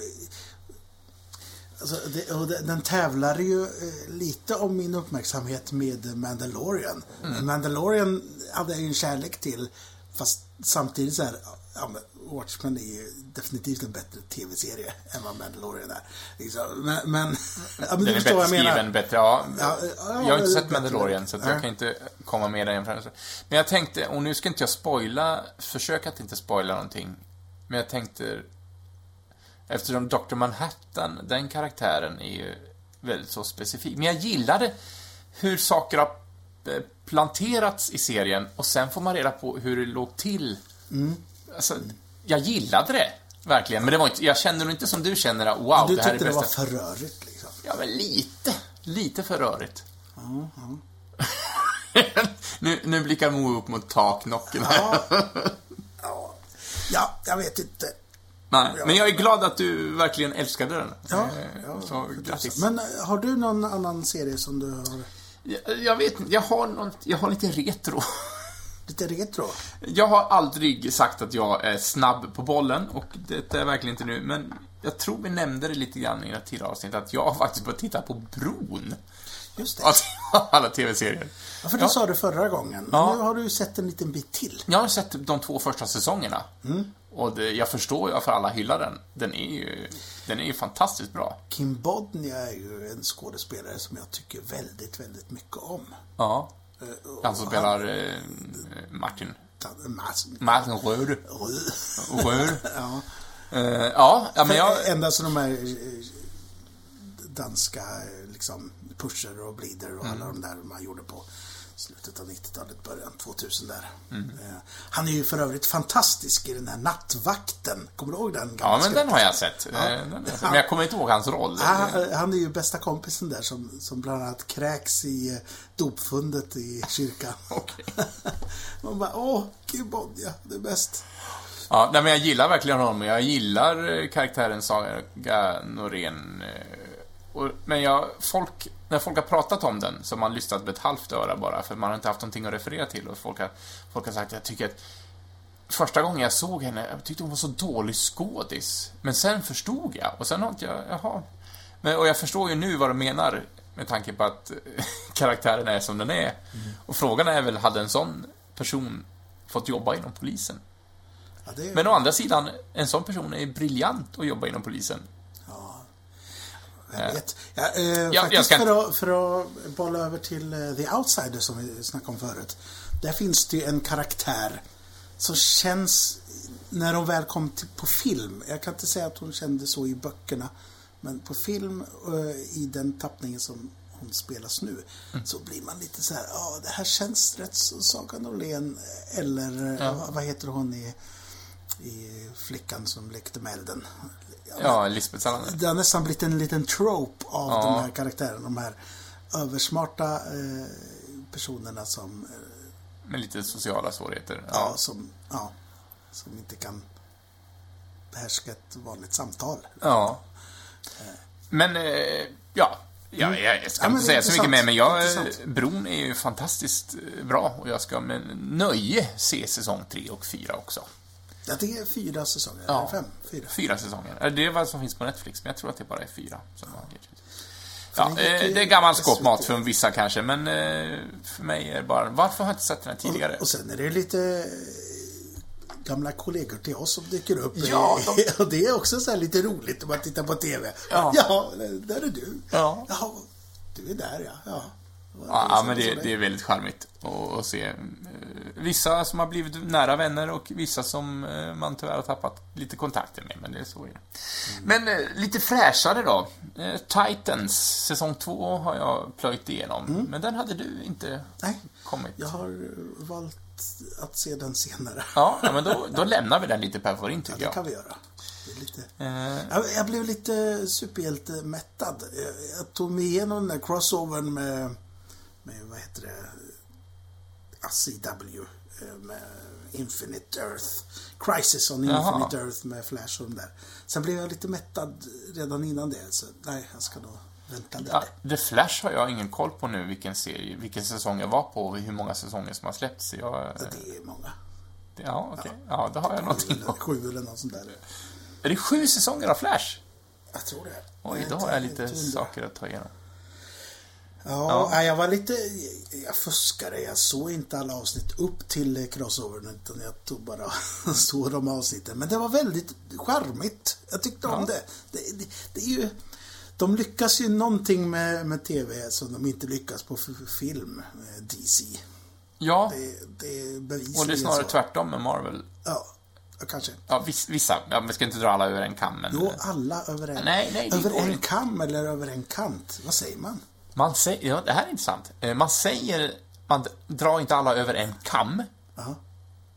Speaker 2: Alltså, det, och det, den tävlar ju eh, lite om min uppmärksamhet med Mandalorian.
Speaker 1: Mm.
Speaker 2: Men Mandalorian hade jag ju en kärlek till. Fast samtidigt så här, ja, men Watchmen är ju definitivt en bättre TV-serie än vad Mandalorian är. Liksom. Men, men, ja, men
Speaker 1: Den
Speaker 2: du
Speaker 1: är
Speaker 2: förstår vad
Speaker 1: bättre
Speaker 2: jag menar.
Speaker 1: skriven, bättre, ja.
Speaker 2: Ja, ja,
Speaker 1: Jag har inte
Speaker 2: det är
Speaker 1: sett Mandalorian,
Speaker 2: bättre.
Speaker 1: så att
Speaker 2: Nej.
Speaker 1: jag kan inte komma med den jämförelsen. Men jag tänkte, och nu ska inte jag spoila, försök att inte spoila någonting. Men jag tänkte, eftersom Dr. Manhattan, den karaktären är ju väldigt så specifik. Men jag gillade hur saker har eh, planterats i serien och sen får man reda på hur det låg till.
Speaker 2: Mm.
Speaker 1: Alltså, jag gillade det, verkligen. Men det var inte, jag kände nog inte som du känner, wow,
Speaker 2: Du
Speaker 1: det här är
Speaker 2: tyckte det,
Speaker 1: bästa.
Speaker 2: var för rörigt liksom.
Speaker 1: Ja, men lite. Lite för rörigt. nu, nu blickar Mo upp mot taknocken. här.
Speaker 2: Ja, ja jag vet inte.
Speaker 1: Nej, men jag är glad att du verkligen älskade den.
Speaker 2: Ja,
Speaker 1: Eh,
Speaker 2: ja,
Speaker 1: så grattis.
Speaker 2: Men eh, har du någon annan serie som du har
Speaker 1: Jag, jag vet inte, jag har, något, jag har lite retro.
Speaker 2: lite retro?
Speaker 1: Jag har aldrig sagt att jag är snabb på bollen, och det är jag verkligen inte nu, men jag tror vi nämnde det lite grann i något tidigare avsnitt, att jag har faktiskt börjat titta på Bron.
Speaker 2: Just det.
Speaker 1: Alltså, alla TV-serier.
Speaker 2: Ja, för du sa det förra gången. Men
Speaker 1: Ja.
Speaker 2: Nu har du ju sett en liten bit till.
Speaker 1: Jag har sett de två första säsongerna. Och det, jag förstår ju varför alla hyllar den. Den är ju, den är ju fantastiskt bra.
Speaker 2: Kim Bodnia är ju en skådespelare som jag tycker väldigt, väldigt mycket om.
Speaker 1: Ja.
Speaker 2: Eh, och
Speaker 1: Han som
Speaker 2: han-
Speaker 1: spelar eh, Martin.
Speaker 2: Martin. Martin.
Speaker 1: Martin Röd. Röd.
Speaker 2: Ja.
Speaker 1: Eh, ja, ja, men jag...
Speaker 2: Ända så de här eh, danska eh, liksom, pusher och bleeder och
Speaker 1: Mm.
Speaker 2: alla de där man gjorde på slutet av 90-talet, början 2000 där.
Speaker 1: Mm.
Speaker 2: Eh, Han är ju för övrigt fantastisk i den här Nattvakten. Kommer du ihåg den? gamla
Speaker 1: Ja, Ah, men den
Speaker 2: skräcken?
Speaker 1: har jag sett. Eh, den har jag sett. Men jag kommer inte ihåg hans roll.
Speaker 2: Han, han är ju bästa kompisen där som, som bland annat kräks i eh, dopfundet i kyrkan.
Speaker 1: Okej.
Speaker 2: Man bara, åh, Kibodja, det är bäst.
Speaker 1: Ja, nej, men jag gillar verkligen honom. Jag gillar eh, karaktären Saga Norén. eh, Och, men jag, folk, när folk har pratat om den så har man lyssnat med ett halvt öra bara, för man har inte haft någonting att referera till. Och folk har, folk har sagt, jag tycker att första gången jag såg henne, jag tyckte hon var så dålig skådis. Men sen förstod jag, och sen har inte jag, jaha. Men, och jag förstår ju nu vad de menar, med tanke på att eh, karaktären är som den är. Och frågan är väl, hade en sån person fått jobba inom polisen?
Speaker 2: Ja, det är,
Speaker 1: Men å andra sidan, en sån person är briljant att jobba inom polisen.
Speaker 2: jag vet. Ja, eh,
Speaker 1: jag
Speaker 2: faktiskt
Speaker 1: ska-
Speaker 2: för, att, för att bolla över till eh, The Outsider som vi snackade om förut. Där finns det ju en karaktär som känns, när hon väl kom till, på film, jag kan inte säga att hon kände så i böckerna, men på film eh, i den tappningen som hon spelas nu, så blir man lite så här, ja det här känns rätt som Saga Norlén eller eh, vad- vad heter hon i, i Flickan som lekte med elden?
Speaker 1: Ja, Lisbeth Salander.
Speaker 2: Det har nästan blivit en liten trope av
Speaker 1: Ja.
Speaker 2: de här karaktärerna. De här översmarta eh, personerna som, eh,
Speaker 1: Med lite sociala svårigheter.
Speaker 2: ja.
Speaker 1: Ja.
Speaker 2: som, ja, som inte kan behärska ett vanligt samtal.
Speaker 1: ja. Men, eh, ja. Ja, jag ska
Speaker 2: Mm. Ja, men
Speaker 1: inte säga så
Speaker 2: intressant.
Speaker 1: mycket mer, men jag,
Speaker 2: Intressant.
Speaker 1: Bron är ju fantastiskt eh, bra och jag ska med nöje se säsong 3 och 4 också.
Speaker 2: Jag tycker det är fyra säsonger,
Speaker 1: Ja.
Speaker 2: eller fem, fyra.
Speaker 1: Fyra säsonger. Eh, Det är vad som finns på Netflix, men jag tror att det bara är fyra. Som har getts ut. Ja,
Speaker 2: den gick
Speaker 1: eh,
Speaker 2: ju
Speaker 1: det är gammal
Speaker 2: SVT.
Speaker 1: skåpmat för vissa kanske, men eh, för mig är det bara, varför har jag inte sett den här tidigare?
Speaker 2: Och sen är det ju lite eh, gamla kollegor till oss som dyker upp.
Speaker 1: Ja,
Speaker 2: Och det är också så här lite roligt om man tittar på TV.
Speaker 1: Ja.
Speaker 2: ja där är du.
Speaker 1: Ja.
Speaker 2: Jaha, du är där ja. ja.
Speaker 1: Ja, men
Speaker 2: så
Speaker 1: det, det är väldigt charmigt att att se. eh, Vissa som har blivit nära vänner och vissa som eh, man tyvärr har tappat lite kontakter med, men det är så det är. Men eh, lite fräschare då. Eh, Titans, säsong två har jag plöjt igenom, men den hade du inte
Speaker 2: Nej.
Speaker 1: kommit.
Speaker 2: Jag har eh, valt att se den senare.
Speaker 1: Ja, ja, men då, då lämnar vi den lite per favorit,
Speaker 2: Ja,
Speaker 1: tycker
Speaker 2: det kan
Speaker 1: jag.
Speaker 2: vi göra. Det är lite...
Speaker 1: Eh,
Speaker 2: jag, jag blev lite superhjältemättad. Jag, jag tog mig igenom den där crossovern med, med vad heter det, Ja, CW eh, med Infinite Earth. Crisis on
Speaker 1: Jaha.
Speaker 2: Infinite Earth med Flash och de där. Sen blev jag lite mättad redan innan det, så nej, jag ska nog vänta lite.
Speaker 1: Ja, The Flash har jag ingen koll på nu, vilken serie, vilken säsong jag var på och hur många säsonger som har släppts. Jag, eh,
Speaker 2: Det är många.
Speaker 1: ja, okej. Ja, då har jag någonting.
Speaker 2: Eller Sju eller något sånt där.
Speaker 1: Är det sju säsonger av Flash?
Speaker 2: Jag tror det.
Speaker 1: Oj, då
Speaker 2: inte-
Speaker 1: har jag lite
Speaker 2: inte hundra.
Speaker 1: saker att ta igenom.
Speaker 2: Ja, nej, jag var lite... Jag fuskade. Jag såg inte alla avsnitt upp till eh, crossovern utan jag tog bara såg de avsnitten. Men det var väldigt charmigt. Jag tyckte om det. Det, det, det är ju... De lyckas ju någonting med, med TV som de inte lyckas på f- film, eh, DC.
Speaker 1: Ja,
Speaker 2: Det, det är bevisligen
Speaker 1: och det är snarare
Speaker 2: så.
Speaker 1: tvärtom med Marvel.
Speaker 2: Ja, ja, kanske.
Speaker 1: Ja, viss- vissa. Ja, vi ska inte dra alla över en kam, men... eh,
Speaker 2: Jo, alla över en...
Speaker 1: Nej, nej, det
Speaker 2: över
Speaker 1: går
Speaker 2: en
Speaker 1: inte.
Speaker 2: kam eller över en kant. Vad säger man?
Speaker 1: Man säger... Ja, det här är intressant. Eh, Man säger... Man d- drar inte alla över en kam.
Speaker 2: Ja.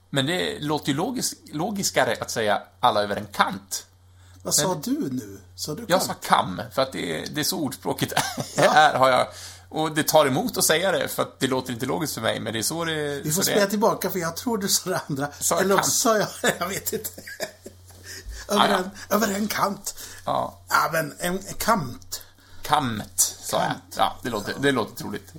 Speaker 1: Men det låter ju logis- logiskare att säga alla över en kant.
Speaker 2: Vad sa du nu? Sa du
Speaker 1: Jag
Speaker 2: kant?
Speaker 1: sa kam, för att det är, det är så ordspråket är, har jag. Och det tar emot att säga det, för att det låter inte logiskt för mig, men det är så det...
Speaker 2: Vi får
Speaker 1: så det är.
Speaker 2: spela tillbaka för jag tror du sa det andra.
Speaker 1: Sa jag
Speaker 2: Eller
Speaker 1: kant?
Speaker 2: också sa jag, jag vet inte. över,
Speaker 1: Ah, ja.
Speaker 2: en, över en kant.
Speaker 1: Ja.
Speaker 2: Ja, men en en kant.
Speaker 1: Kamt, sa jag. Ja, det låter, det låter troligt.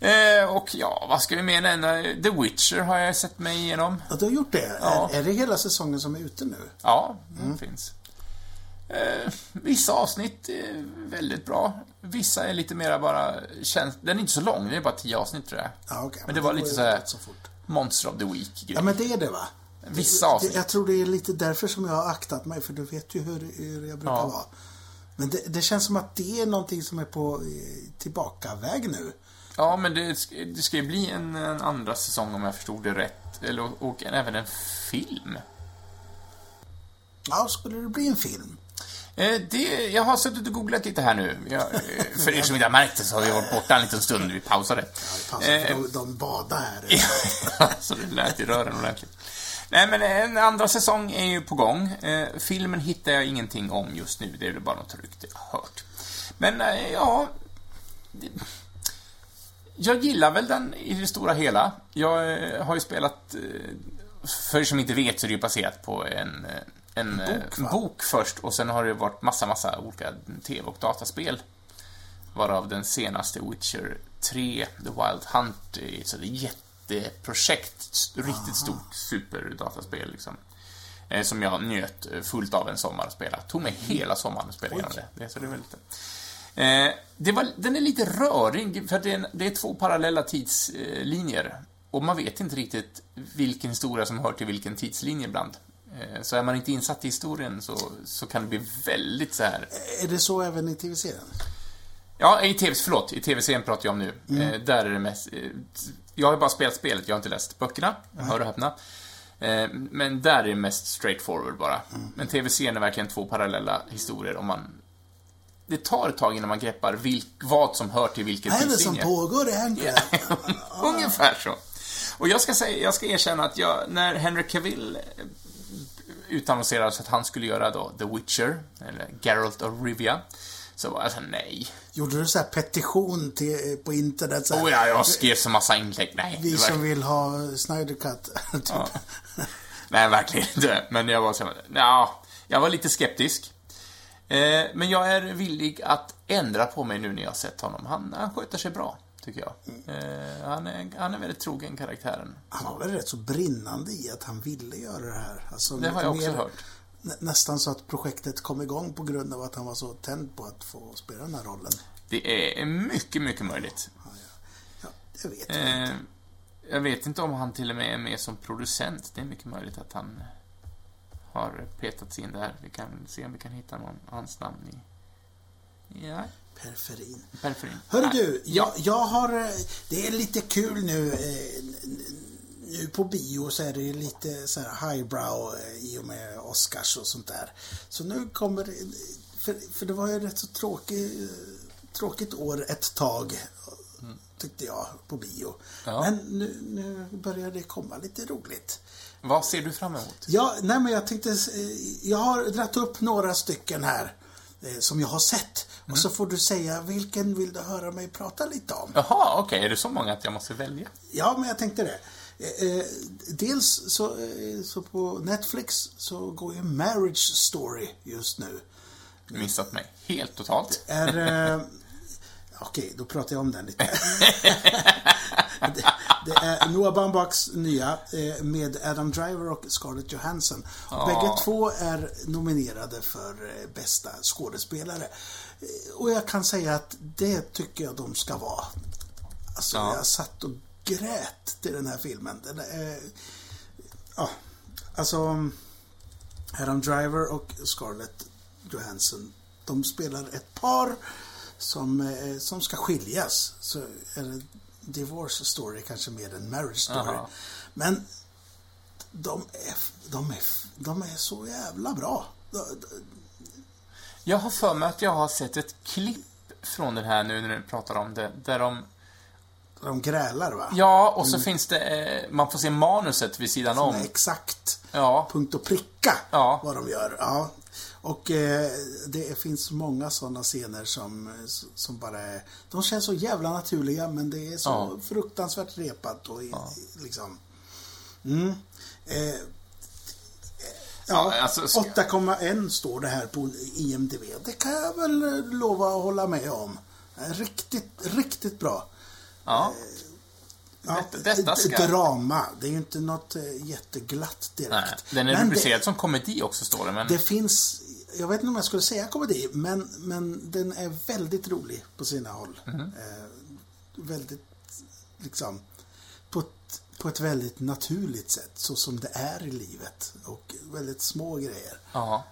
Speaker 1: Eh, och ja, vad ska vi mer nämna? The Witcher har jag sett mig igenom.
Speaker 2: Ja, du har gjort det.
Speaker 1: Ja.
Speaker 2: Är, är det hela säsongen som är ute nu?
Speaker 1: Ja, den
Speaker 2: Mm.
Speaker 1: finns. Eh, vissa avsnitt är väldigt bra. Vissa är lite mera bara käns... Den är inte så lång, det är bara tio avsnitt tror jag.
Speaker 2: Ja, okej.
Speaker 1: Men det var
Speaker 2: då
Speaker 1: lite
Speaker 2: går
Speaker 1: så
Speaker 2: jag
Speaker 1: här
Speaker 2: rätt så fort.
Speaker 1: Monster of the Week grej.
Speaker 2: Ja, men det är det va?
Speaker 1: Vissa
Speaker 2: Det,
Speaker 1: avsnitt.
Speaker 2: jag tror det är lite därför som jag har aktat mig, för du vet ju hur, hur jag brukar
Speaker 1: Ja.
Speaker 2: vara. Men det, det känns som att det är någonting som är på eh, tillbakaväg nu.
Speaker 1: Ja, men det, sk- det ska ju bli en, en andra säsong om jag förstod det rätt. Eller, och en, även en film.
Speaker 2: Ja, skulle det bli en film?
Speaker 1: Eh, det, jag har suttit och googlat lite här nu. Jag, eh, för er som inte har märkt det så har vi varit borta en liten stund. Vi pausade.
Speaker 2: Fan,
Speaker 1: Eh,
Speaker 2: de, de badar här.
Speaker 1: så det lät i rören ordentligt. Nej, men eh, en andra säsong är ju på gång. Eh, filmen hittar jag ingenting om just nu. Det är väl bara något rykte jag har hört. Men, eh, ja... det- Jag gillar väl den i det stora hela. Jag eh, har ju spelat... eh, För er som inte vet så är det ju baserat på en, eh, en eh,
Speaker 2: Bok, va?
Speaker 1: bok först och sen har det varit massa, massa olika TV och dataspel. Varav den senaste Witcher 3, The Wild Hunt, är ett sånt jätteprojekt. s- Riktigt stort superdataspel liksom. Eh, Som jag njöt eh, fullt av en sommar att spela. Tog mig hela sommaren att spela igenom det. det. Så det var lite. Eh, det var, den är lite rörig, för att det är, en, det är två parallella tidslinjer. Och man vet inte riktigt vilken historia som hör till vilken tidslinje ibland. Eh, Så är man inte insatt i historien så, så kan det bli väldigt så här...
Speaker 2: Är det så även i tv-serien?
Speaker 1: Ja, i tv, förlåt, i tv-serien pratar jag om nu.
Speaker 2: Mm.
Speaker 1: Eh, där är det mest... Eh, jag har bara spelat spelet, jag har inte läst böckerna, hör och häpna. Eh, men där är det mest straightforward bara.
Speaker 2: Mm.
Speaker 1: Men tv-serien är verkligen två parallella historier om man... Det tar ett tag innan man greppar vilk, vad som hör till vilken
Speaker 2: Vad är det som
Speaker 1: tidslinje.
Speaker 2: pågår egentligen?
Speaker 1: Ungefär så. Och jag ska, säga, jag ska erkänna att jag, när Henry Cavill eh, utannonserades att han skulle göra då The Witcher, eller Geralt of Rivia, så var jag såhär, nej.
Speaker 2: Gjorde du så här petition till, eh, på internet? Så här,
Speaker 1: Oh ja, jag skrev så massa inlägg. Nej, det
Speaker 2: Vi
Speaker 1: var,
Speaker 2: som vill ha Snyder Cut. typ.
Speaker 1: nej verkligen inte. Men jag var så här, ja, jag var lite skeptisk. Eh, men jag är villig att ändra på mig nu när jag har sett honom. Han, han sköter sig bra, tycker jag. Eh, han, är, han är väldigt trogen karaktären.
Speaker 2: Han var väl rätt så brinnande i att han ville göra det här. Alltså,
Speaker 1: Det har jag också
Speaker 2: mer-
Speaker 1: hört.
Speaker 2: nä- Nästan så att projektet kom igång på grund av att han var så tänd på att få spela den här rollen.
Speaker 1: Det är mycket, mycket möjligt.
Speaker 2: Ja, jag vet
Speaker 1: Eh, jag vet inte om han till och med är med som producent. Det är mycket möjligt att han har petats in där. Vi kan se om vi kan hitta någon, hans namn i... Ja,
Speaker 2: Perferin.
Speaker 1: periferin.
Speaker 2: Hörru
Speaker 1: Nej.
Speaker 2: du, jag, jag har... eh, Det är lite kul nu. eh, n- n- Nu på bio så är det ju lite så här highbrow eh, i och med Oscars och sånt där. Så nu kommer... det- För, för det var ju rätt så tråkig, eh, tråkigt år ett tag, tyckte jag, på bio.
Speaker 1: Mm. Ja.
Speaker 2: Men nu, nu börjar det komma lite roligt.
Speaker 1: Vad ser du fram emot?
Speaker 2: Ja, nej men jag tänkte, eh, jag har dragit upp några stycken här eh, som jag har sett.
Speaker 1: Mm.
Speaker 2: Och så får du säga vilken vill du höra mig prata lite om?
Speaker 1: Jaha, okej. Är det så många att jag måste välja?
Speaker 2: Ja, men jag tänkte det. Eh, eh, Dels så, eh, så på Netflix så går ju Marriage Story just nu.
Speaker 1: Missat mig helt totalt.
Speaker 2: Är, eh, Okej, då pratar jag om den lite. det, det är Noah Baumbachs nya eh, med Adam Driver och Scarlett Johansson. Och Bägge två är nominerade för eh, bästa skådespelare. Eh, Och jag kan säga att det tycker jag de ska vara. Alltså,
Speaker 1: Ja.
Speaker 2: jag satt och grät till den här filmen. Den, eh, ja, alltså... Adam Driver och Scarlett Johansson. De spelar ett par som, eh, som ska skiljas. Så är det divorce story kanske mer än marriage story.
Speaker 1: Aha.
Speaker 2: Men de är, de, är, de är så jävla bra. De- de-
Speaker 1: Jag har för mig att jag har sett ett klipp från den här nu när du pratar om det, där de...
Speaker 2: De grälar va?
Speaker 1: Ja, och
Speaker 2: Mm.
Speaker 1: så finns det... Eh, man får se manuset vid sidan
Speaker 2: De är
Speaker 1: om.
Speaker 2: Exakt.
Speaker 1: Ja.
Speaker 2: Punkt och pricka
Speaker 1: Ja.
Speaker 2: vad de gör. Ja. Och eh, det finns många sådana scener som, som bara är... De känns så jävla naturliga men det är så
Speaker 1: Ja.
Speaker 2: fruktansvärt repat och i- liksom... Mm. Eh, Ja,
Speaker 1: Ja, alltså, ska-
Speaker 2: 8,1 står det här på IMDB. Det kan jag väl eh, lova att hålla med om. Eh, Riktigt, riktigt bra.
Speaker 1: Ja.
Speaker 2: Ja,
Speaker 1: Detta- detta
Speaker 2: ett
Speaker 1: ska-
Speaker 2: Drama. Det är ju inte något eh, jätteglatt direkt.
Speaker 1: Nej, den är
Speaker 2: Men
Speaker 1: rubricerad som komedi också, står det, men...
Speaker 2: Det, det finns, jag vet inte om jag skulle säga komedi, men, men den är väldigt rolig på sina håll. Eh, väldigt, liksom, på ett, på ett väldigt naturligt sätt, så som det är i livet. Och väldigt små grejer.
Speaker 1: Ja.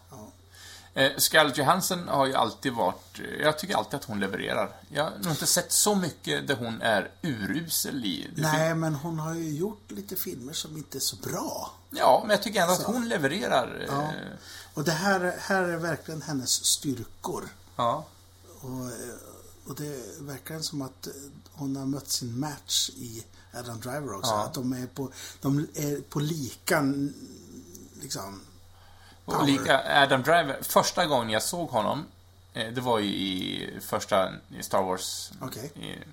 Speaker 1: Eh, Scarlett Johansson har ju alltid varit... eh, Jag tycker alltid att hon levererar. Jag har nog inte sett så mycket där hon är urusel i. Det fin-
Speaker 2: Nej, men hon har ju gjort lite filmer som inte är så bra.
Speaker 1: Ja, men jag tycker ändå att hon levererar. eh,
Speaker 2: Ja. Och det här, här är verkligen hennes styrkor.
Speaker 1: ja.
Speaker 2: Och, eh, och det verkar som att eh, hon har mött sin match i Adam Driver också. Att de är på, de är på lika, n- liksom.
Speaker 1: Och lika Adam Driver, första gången jag såg honom, eh, det var ju i första Star Wars.
Speaker 2: Okej.
Speaker 1: Eh,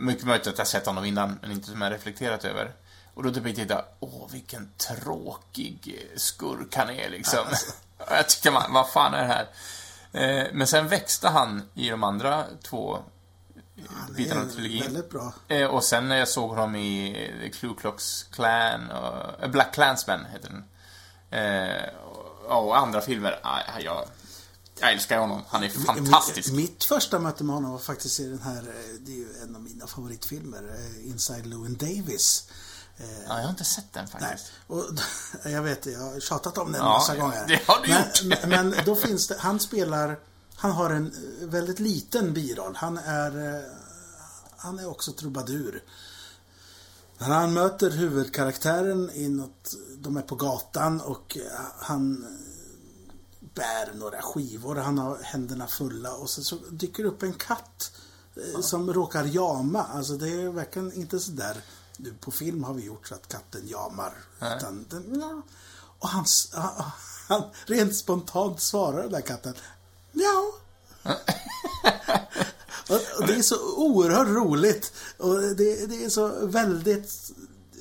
Speaker 1: Mycket möjligt att jag sett honom innan, men inte som jag reflekterat över. Och då typ jag tittade, åh vilken tråkig eh, skurk han är liksom.
Speaker 2: alltså.
Speaker 1: Och jag tyckte, man, vad fan är det här? Eh, Men sen växte han i de andra två eh,
Speaker 2: Det
Speaker 1: bitarna av
Speaker 2: är
Speaker 1: trilogin.
Speaker 2: väldigt bra.
Speaker 1: Eh, Och sen när jag såg honom i eh, The Ku Klux Klan, och, eh, Black Klansman heter den. Eh, och, och andra filmer. Ah, jag, jag älskar honom. Han är fantastisk.
Speaker 2: Mitt, mitt första möte med honom var faktiskt i den här, eh, det är ju en av mina favoritfilmer, eh, Inside Llewyn Davis.
Speaker 1: Ja, jag har inte sett den
Speaker 2: Nej,
Speaker 1: faktiskt.
Speaker 2: och, jag vet det, jag har tjatat om den en
Speaker 1: Ja,
Speaker 2: massa gånger.
Speaker 1: det har du
Speaker 2: men,
Speaker 1: gjort.
Speaker 2: men då finns det, han spelar, han har en eh, väldigt liten biroll. Han är, eh, han är också trubadur. När han möter huvudkaraktären i något, de är på gatan och eh, han bär några skivor, han har händerna fulla och så, så dyker upp en katt eh, som råkar jama. Alltså det är verkligen inte sådär, nu på film har vi gjort så att katten jamar. Utan den, ja. Och han, s- han rent spontant svarar den där katten, ja. Och- och det är så oerhört roligt. Och det, det är så väldigt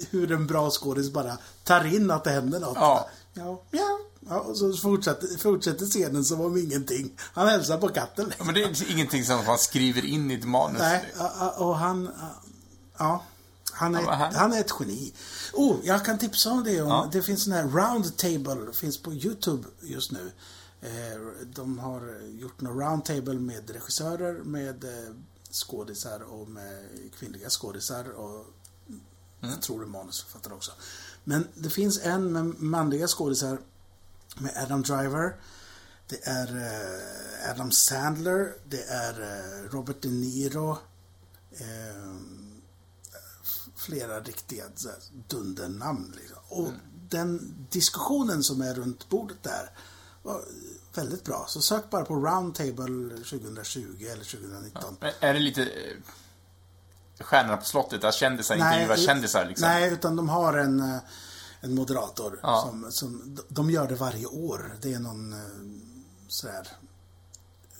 Speaker 2: hur en bra skådis bara tar in att det händer något.
Speaker 1: Ja.
Speaker 2: Ja, ja. ja och så fortsätter, fortsätter scenen som om ingenting. Han hälsar på katten.
Speaker 1: Ja, Men det är liksom ingenting som man skriver in i ett manus.
Speaker 2: Nej, a- a- och han... a- Ja. Han är,
Speaker 1: Ja, vad här?
Speaker 2: han är ett geni. Oh, jag kan tipsa om det. Om,
Speaker 1: Ja.
Speaker 2: Det finns en här Roundtable, finns på YouTube just nu. Eh, De har gjort någon Roundtable med regissörer, med eh, skådisar och med kvinnliga skådisar och
Speaker 1: Mm.
Speaker 2: jag tror det är manusförfattare också. Men det finns en med manliga skådisar med Adam Driver. Det är eh, Adam Sandler. Det är eh, Robert De Niro. Eh, f- flera riktiga så här, dundernamn. Liksom. Och den diskussionen som är runt bordet där var väldigt bra. Så sök bara på Roundtable 2020 eller 2019.
Speaker 1: Men Är det lite eh, Stjärnorna på slottet, där kändisar intervjuar
Speaker 2: ut-
Speaker 1: kändisar liksom?
Speaker 2: Nej, utan de har en, eh, en moderator.
Speaker 1: Ja.
Speaker 2: Som, som, de- de gör det varje år. Det är någon eh, sådär eh,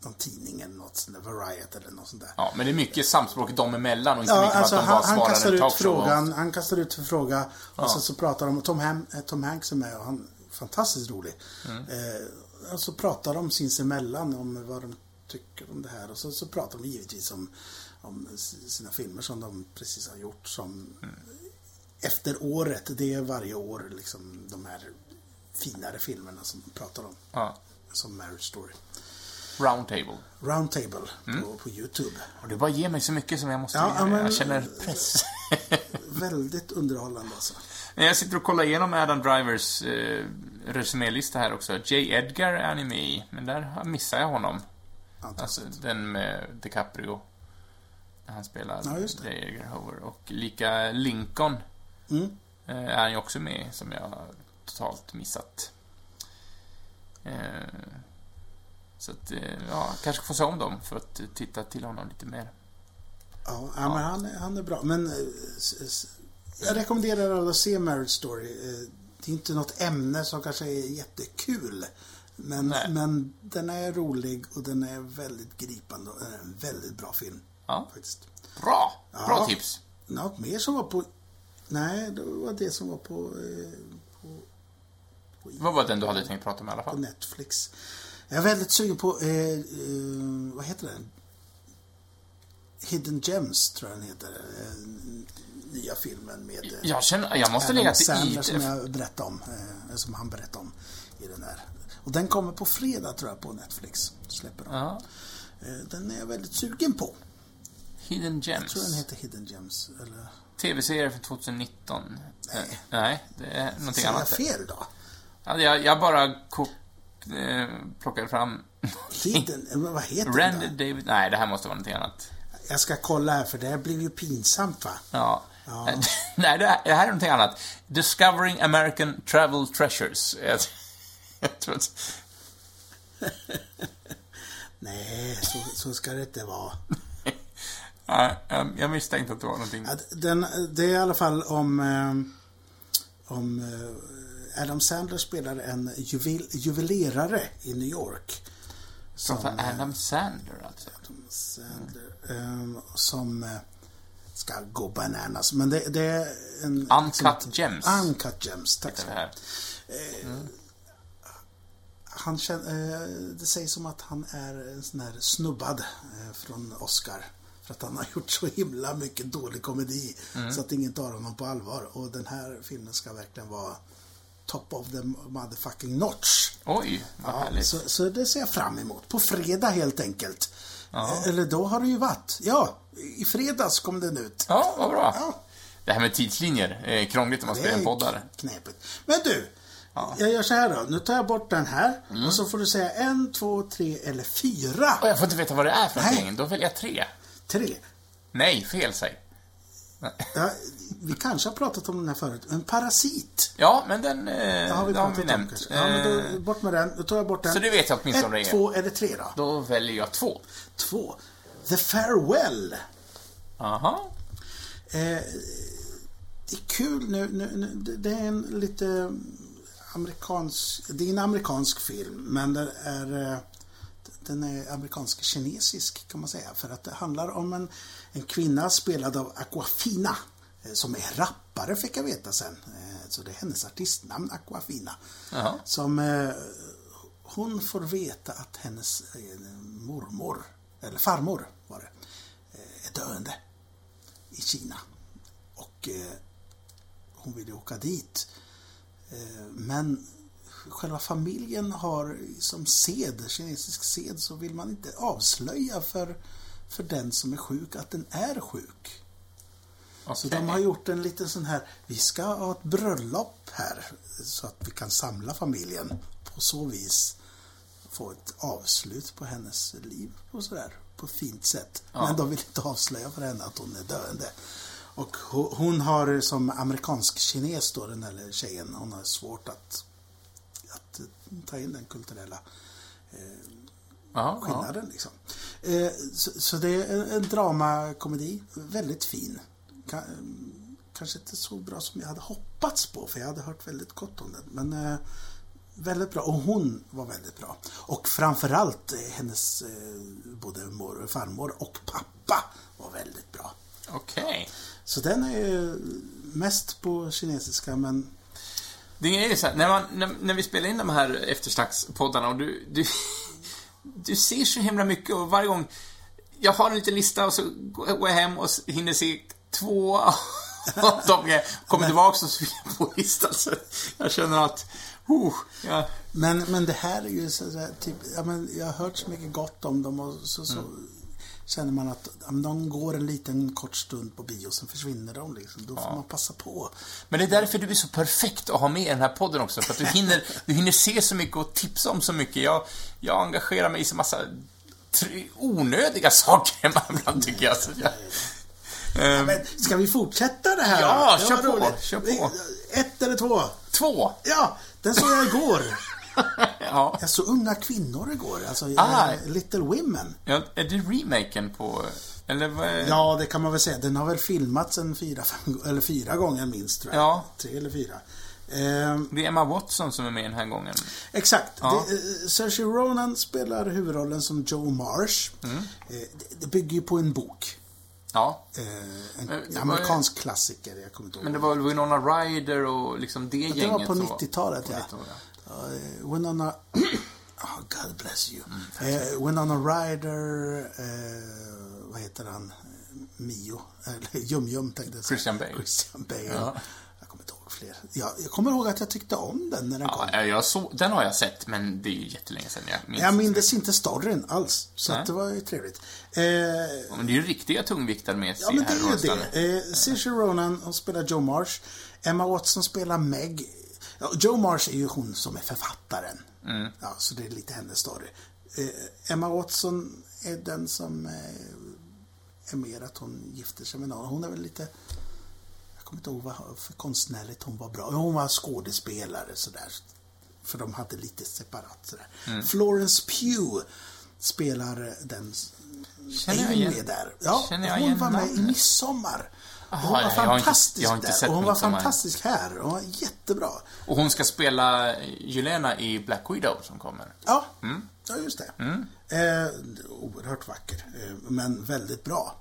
Speaker 2: någon tidning eller något sånt där, Variety eller något sånt där.
Speaker 1: Ja, men det är mycket samspråk dem emellan och inte
Speaker 2: Ja,
Speaker 1: mycket
Speaker 2: alltså
Speaker 1: att de bara
Speaker 2: han, han
Speaker 1: svarar
Speaker 2: kastar
Speaker 1: en
Speaker 2: ut
Speaker 1: talkshow.
Speaker 2: frågan, han kastar ut en fråga och sen så pratar de, Tom, Ham, eh, Tom Hanks är med och han är fantastiskt rolig. Eh, och så pratar de sinsemellan om vad de tycker om det här och så, så pratar de givetvis om, om s- sina filmer som de precis har gjort som efter året, det är varje år liksom de här finare filmerna som de pratar om.
Speaker 1: Ja.
Speaker 2: Som Marriage Story.
Speaker 1: Roundtable.
Speaker 2: Roundtable på, på Youtube.
Speaker 1: Och det bara ger mig så mycket som jag måste
Speaker 2: Ja,
Speaker 1: ge
Speaker 2: ja,
Speaker 1: dig.
Speaker 2: men-
Speaker 1: Jag känner press.
Speaker 2: Väldigt underhållande alltså.
Speaker 1: Nej, Jag sitter och kollar igenom Adam Drivers eh, resumélista här också. J. Edgar är han ju med i, men där har- missar jag honom.
Speaker 2: Antagligen.
Speaker 1: Alltså den med DiCaprio. När han spelar
Speaker 2: Ja, just det.
Speaker 1: J. Edgar Hoover. Och lika Lincoln
Speaker 2: Mm.
Speaker 1: eh, är han ju också med i, som jag har totalt missat. Eh, så att, eh, ja, kanske får se om dem för att eh, titta till honom lite mer.
Speaker 2: Ja, ja, men han, är- han är bra. Men eh, s- s- jag rekommenderar alla att se Marriage Story. Eh, Det är inte något ämne som kanske är jättekul. Men,
Speaker 1: Nej.
Speaker 2: men den är rolig och den är väldigt gripande och den är en väldigt bra film.
Speaker 1: Ja.
Speaker 2: Faktiskt.
Speaker 1: Bra! Bra
Speaker 2: Ja.
Speaker 1: tips!
Speaker 2: Något mer som var på... Nej, det var det som var på, eh,
Speaker 1: Vad var den du hade tänkt prata om i alla
Speaker 2: på
Speaker 1: fall?
Speaker 2: Netflix. Jag är väldigt sugen på... Eh, eh, vad heter den? Hidden Gems tror jag den heter. Eh, n- nya filmen med... eh,
Speaker 1: Jag känner, jag måste lägga
Speaker 2: Adam
Speaker 1: till
Speaker 2: Sandler
Speaker 1: i...
Speaker 2: som jag berättade om. Eh, som han berättade om i den där. Och den kommer på fredag tror jag på Netflix. Släpper de.
Speaker 1: Ja.
Speaker 2: Eh, den är jag väldigt sugen på.
Speaker 1: Hidden Gems.
Speaker 2: Tror den heter Hidden Gems. Eller
Speaker 1: TV-serie från 2019. Nej. Nej, det är någonting
Speaker 2: säger jag
Speaker 1: annat.
Speaker 2: fel då?
Speaker 1: Ja, jag, jag bara ko- eh, plockade fram
Speaker 2: Tiden, men vad heter den
Speaker 1: Randy
Speaker 2: då?
Speaker 1: David... Nej, det här måste vara någonting annat.
Speaker 2: Jag ska kolla här för det här blir ju pinsamt va?
Speaker 1: Ja.
Speaker 2: Ja.
Speaker 1: Nej, det här, det här är någonting annat. Discovering American Travel Treasures. Jag, jag tror att...
Speaker 2: Nej, så, så ska det inte vara.
Speaker 1: Ja, jag- jag misstänkte att det var någonting.
Speaker 2: Ja, Den, det är i alla fall om, eh, om eh, Adam Sandler spelar en juvel, juvelerare i New York. Som,
Speaker 1: Som Adam Sandler, alltså.
Speaker 2: Sandler, eh, som eh, ska gå bananas. Men det, det är en...
Speaker 1: Uncut Gems.
Speaker 2: Uncut Gems, tack så
Speaker 1: Det
Speaker 2: mycket.
Speaker 1: här.
Speaker 2: Han känner, eh, det sägs som att han är en sån här snubbad eh, från Oscar. För att han har gjort så himla mycket dålig komedi.
Speaker 1: Mm.
Speaker 2: Så att ingen tar honom på allvar. Och den här filmen ska verkligen vara top of the motherfucking notch.
Speaker 1: Oj, vad
Speaker 2: Ja,
Speaker 1: härligt.
Speaker 2: så, så det ser jag fram emot. På fredag helt enkelt. Eh, Eller då har det ju varit. Ja, i fredags kom den ut.
Speaker 1: Ja, vad bra.
Speaker 2: Ja.
Speaker 1: Det här med tidslinjer är krångligt om man
Speaker 2: Det
Speaker 1: spelar en poddare.
Speaker 2: knepigt. Men du, jag gör så här då. Nu tar jag bort den här.
Speaker 1: Mm.
Speaker 2: Och så får du säga en, två, tre eller fyra.
Speaker 1: Och jag får inte veta vad det är för
Speaker 2: Nej.
Speaker 1: någonting. Då väljer jag tre.
Speaker 2: Tre.
Speaker 1: Nej, fel säg.
Speaker 2: Ja, vi kanske har pratat om den här förut. En parasit.
Speaker 1: Ja, men den eh,
Speaker 2: Det har vi
Speaker 1: den har
Speaker 2: pratat
Speaker 1: vi
Speaker 2: om
Speaker 1: nämnt.
Speaker 2: kanske. Ja, men
Speaker 1: Eh,
Speaker 2: då, bort med den. Då tar jag bort den.
Speaker 1: Så det vet jag åtminstone det
Speaker 2: Ett,
Speaker 1: är.
Speaker 2: två eller tre då?
Speaker 1: Då väljer jag två.
Speaker 2: Två. The Farewell.
Speaker 1: Aha.
Speaker 2: Det är kul nu, nu, nu det- det är en lite amerikansk, det är en amerikansk film men den är eh, den är amerikansk-kinesisk kan man säga för att det handlar om en, en kvinna spelad av Aquafina eh, som är rappare fick jag veta sen. Eh, Så det är hennes artistnamn Aquafina.
Speaker 1: Jaha.
Speaker 2: Som eh, hon får veta att hennes eh, mormor, eller farmor var det, eh, är döende i Kina. Och eh, hon ville åka dit. Eh, men själva familjen har som sed, kinesisk sed, så vill man inte avslöja för, för den som är sjuk att den är sjuk.
Speaker 1: Okej.
Speaker 2: Så Alltså, de har gjort en liten sån här, vi ska ha ett bröllop här så att vi kan samla familjen. På så vis få ett avslut på hennes liv och sådär. På ett fint sätt. Men de vill inte avslöja för henne att hon är döende. Och ho- hon har som amerikansk kines då, den här tjejen, hon har svårt att, att ta in den kulturella
Speaker 1: Jaha, ja.
Speaker 2: skillnaden. Liksom. Eh, så, så det är en, en dramakomedi. Väldigt fin. Ka, eh, kanske inte så bra som jag hade hoppats på, för jag hade hört väldigt gott om den. Men eh, väldigt bra. Och hon var väldigt bra. Och framförallt eh, hennes eh, både mor, farmor och pappa var väldigt bra.
Speaker 1: Okej.
Speaker 2: Så den är ju mest på kinesiska, men
Speaker 1: Det är ju så här, när, man, när, när vi spelar in de här eftersnackspoddarna och du, du, du ser så himla mycket och varje gång jag har en liten lista och så går går jag hem och s- hinner se två av dem. Jag kommer tillbaka och så är jag på listan. Så jag känner att, oh, jag,
Speaker 2: Men, men det här är ju sådär, typ, ja, men jag har hört så mycket gott om dem och så, så
Speaker 1: Mm.
Speaker 2: känner man att ja, men de går en liten kort stund på bio, sen försvinner de liksom. Då får man passa på.
Speaker 1: Men det är därför du är så perfekt att ha med i den här podden också, för att du hinner, du hinner se så mycket och tipsa om så mycket. Jag, jag engagerar mig i så massa tr- onödiga saker hemma ibland, tycker jag. Så jag Ehm,
Speaker 2: Men ska vi fortsätta det här?
Speaker 1: Ja,
Speaker 2: Det
Speaker 1: kör
Speaker 2: var
Speaker 1: på, kör på.
Speaker 2: Eh, Ett eller två?
Speaker 1: två!
Speaker 2: Ja, den såg jag igår.
Speaker 1: Ja.
Speaker 2: jag såg Unga Kvinnor igår, alltså
Speaker 1: Ah.
Speaker 2: eh, Little Women.
Speaker 1: ja. Är det remaken på... Eller vad är...
Speaker 2: Ja, det kan man väl säga. Den har väl filmats en fyra, fem, eller fyra gånger minst tror jag.
Speaker 1: Ja.
Speaker 2: Tre eller fyra. Ehm,
Speaker 1: Det är Emma Watson som är med den här gången.
Speaker 2: Exakt.
Speaker 1: Ja.
Speaker 2: Det, eh, Saoirse Ronan spelar huvudrollen som Joe Marsh.
Speaker 1: Mm.
Speaker 2: Eh, det, det bygger ju på en bok.
Speaker 1: Ja.
Speaker 2: Eh, en
Speaker 1: det var-
Speaker 2: amerikansk klassiker, jag kommer inte ihåg.
Speaker 1: Men det var väl Winona Ryder och liksom det
Speaker 2: det
Speaker 1: gänget
Speaker 2: var på
Speaker 1: som
Speaker 2: 90-talet,
Speaker 1: på
Speaker 2: ja.
Speaker 1: 90-talet,
Speaker 2: Ja, eh, Winona... Oh, God bless you.
Speaker 1: Mm,
Speaker 2: eh, Winona Ryder... Eh, vad heter han? Eh, Mio. Eller Jum-Jum tänkte jag säga.
Speaker 1: Christian Bale.
Speaker 2: Christian Bale.
Speaker 1: Ja.
Speaker 2: Jag kommer inte ihåg fler. Jag, jag kommer ihåg att jag tyckte om den när den kom.
Speaker 1: Ja, jag så, den har jag sett, men det är ju jättelänge sedan jag minns.
Speaker 2: Jag mindes inte storyn alls, så
Speaker 1: Nej.
Speaker 2: att det var ju trevligt. Eh,
Speaker 1: Men det är ju riktiga tungviktare med sig
Speaker 2: Ja, men det
Speaker 1: här
Speaker 2: är ju
Speaker 1: någonstans.
Speaker 2: det. Eh, Saoirse Ronan, hon spelar Joe Marsh. Emma Watson spelar Meg. Ja, Joe Marsh är ju hon som är författaren.
Speaker 1: Mm.
Speaker 2: Ja, så det är lite hennes story. Eh, Emma Watson är den som eh, är mer att hon gifter sig med någon. Hon är väl lite... Jag kommer inte ihåg vad för konstnärligt hon var bra. Hon var skådespelare sådär. För de hade lite separat sådär.
Speaker 1: Mm.
Speaker 2: Florence Pugh spelar den...
Speaker 1: Känner
Speaker 2: är
Speaker 1: jag
Speaker 2: ju
Speaker 1: igen-
Speaker 2: med där. Ja,
Speaker 1: känner jag
Speaker 2: hon
Speaker 1: igen
Speaker 2: var med i
Speaker 1: namnet?
Speaker 2: Midsommar. Och hon
Speaker 1: Aha,
Speaker 2: var
Speaker 1: ja, jag har inte-
Speaker 2: fantastisk
Speaker 1: jag har inte
Speaker 2: där.
Speaker 1: sett
Speaker 2: Och hon var
Speaker 1: Midsommar.
Speaker 2: fantastisk här. Hon var jättebra.
Speaker 1: Och hon ska spela Jelena i Black Widow som kommer.
Speaker 2: Ja,
Speaker 1: Mm.
Speaker 2: ja just det. Eh, oerhört vacker, eh, men väldigt bra.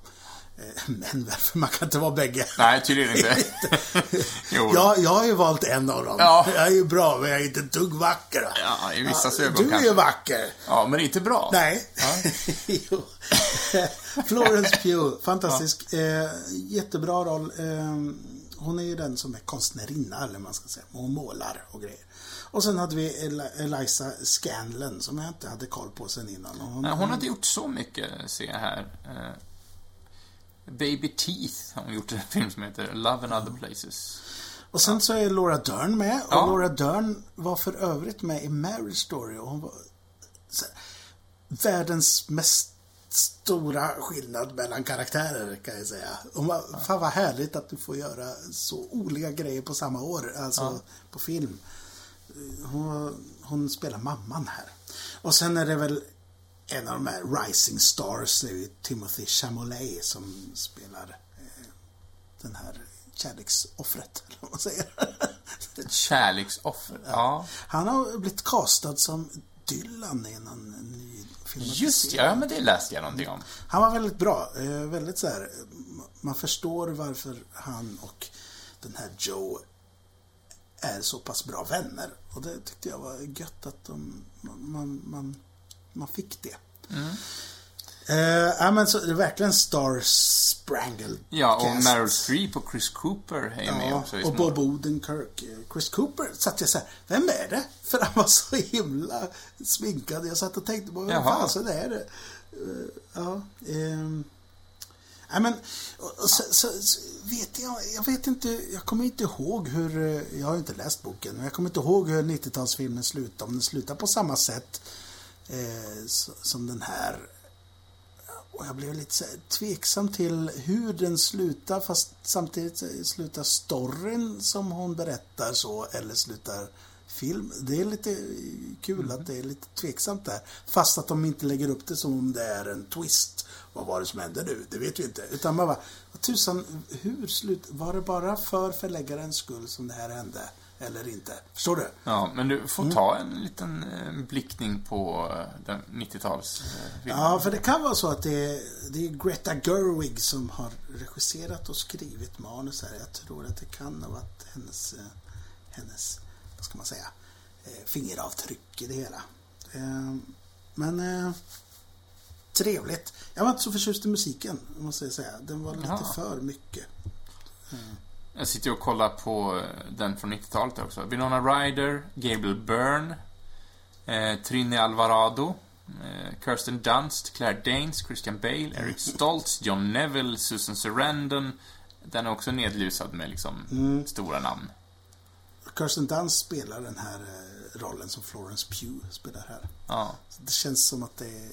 Speaker 2: Eh, men varför man kan inte vara bägge.
Speaker 1: Nej, tydligen inte. jo.
Speaker 2: Jag, jag har ju valt en av dem.
Speaker 1: Ja.
Speaker 2: Jag är ju bra, men jag är inte ett dugg vacker.
Speaker 1: Ja, i vissas ögon
Speaker 2: Du är
Speaker 1: kanske.
Speaker 2: ju vacker.
Speaker 1: Ja, men inte bra.
Speaker 2: Nej. Jo. Florence Pugh, fantastisk. Eh, jättebra roll. Eh, hon är ju den som är konstnärinna, eller vad man ska säga. Hon målar och grejer. Och sen hade vi Eli- Eliza Scanlon, som jag inte hade koll på sen innan. Och Hon,
Speaker 1: Nej, Hon har inte gjort så mycket, ser jag här. Eh, Baby Teeth har hon gjort en film som heter Love and Other Places.
Speaker 2: och sen så är Laura Dern med. Och
Speaker 1: Ja.
Speaker 2: Laura Dern var för övrigt med i Marriage Story. Och hon var så, här, världens mest stora skillnad mellan karaktärer kan jag säga. Hon var, Fan vad härligt att du får göra så olika grejer på samma år, alltså på film. Hon, hon spelar mamman här. Och sen är det väl en av de här Rising Stars, det är ju Timothy Chalamet som spelar eh, den här kärleksoffret, eller vad man säger.
Speaker 1: Kärleksoffer. Ja.
Speaker 2: Han har blivit castad som Dylan i någon ny film.
Speaker 1: Just det, ja, men det läste jag någonting om.
Speaker 2: Han var väldigt bra. eh, Väldigt så här, m- man förstår varför han och den här Joe är så pass bra vänner. Och det tyckte jag var gött att de, man- man, man, man fick det.
Speaker 1: Mm.
Speaker 2: Eh, ja, men så, det är verkligen Star Sprangled
Speaker 1: Ja, och
Speaker 2: cast.
Speaker 1: Meryl Streep och Chris Cooper är med
Speaker 2: Ja,
Speaker 1: också. i
Speaker 2: och
Speaker 1: små-
Speaker 2: Bob Odenkirk. Chris Cooper satt jag så här, vem är det? För han var så himla sminkad. Jag satt och tänkte på, vem
Speaker 1: Jaha.
Speaker 2: fan så det är det? Eh, Ja, ehm. Nej men, och- och så, så, så vet jag, jag vet inte, jag kommer inte ihåg hur, eh, jag har ju inte läst boken, men jag kommer inte ihåg hur 90-talsfilmen slutar, om den slutar på samma sätt eh, s- som den här. Och jag blev lite så här tveksam till hur den slutar, fast samtidigt så slutar storyn som hon berättar så, eller slutar film. Det är lite kul att det är lite tveksamt där. Fast att de inte lägger upp det som om det är en twist. Vad var det som hände nu? Det vet vi inte. Utan man bara, vad tusan, hur slut... Var det bara för förläggarens skull som det här hände? Eller inte? Förstår du?
Speaker 1: Ja, men du får
Speaker 2: Mm.
Speaker 1: ta en liten eh, blickning på eh, den eh, 90-talsfilmen.
Speaker 2: Ja, för det kan vara så att det är, det är Greta Gerwig som har regisserat och skrivit manus här. Jag tror att det kan ha varit hennes, eh, hennes vad ska man säga, eh, fingeravtryck i det hela. Eh, Men eh, trevligt. Jag var inte så förtjust i musiken, måste jag säga. Den var lite
Speaker 1: Jaha.
Speaker 2: för mycket.
Speaker 1: Jag sitter och kollar på eh, den från 90-talet också. Winona Ryder, Gabriel Byrne, eh, Trini Alvarado, eh, Kirsten Dunst, Claire Danes, Christian Bale, Eric Stoltz, John Neville, Susan Sarandon. Den är också nedlusad med liksom
Speaker 2: Mm.
Speaker 1: stora namn.
Speaker 2: Kirsten Dunst spelar den här eh, rollen som Florence Pugh spelar här.
Speaker 1: Ja.
Speaker 2: Det känns som att det är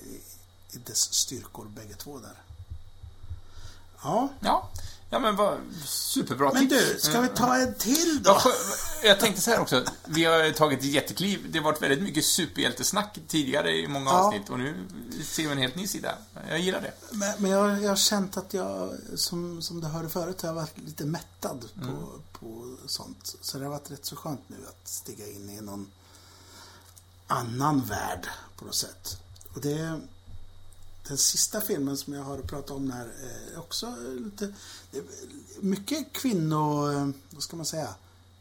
Speaker 2: är dess styrkor bägge två där. Ja,
Speaker 1: Ja. ja, men vad superbra
Speaker 2: Men
Speaker 1: tips.
Speaker 2: du, ska vi ta en till
Speaker 1: Ja,
Speaker 2: då?
Speaker 1: skö- Jag tänkte så här också, vi har ju tagit ett jättekliv. Det har varit väldigt mycket superhjältesnack tidigare i många
Speaker 2: Ja.
Speaker 1: avsnitt och nu ser vi en helt ny sida. Jag gillar det.
Speaker 2: Men, men jag, jag har känt att jag, som, som du hörde förut, har jag varit lite mättad på, på sånt. Så det har varit rätt så skönt nu att stiga in i någon annan värld på något sätt. Och det, den sista filmen som jag har att prata om här är också lite... Det är mycket kvinno... Vad ska man säga?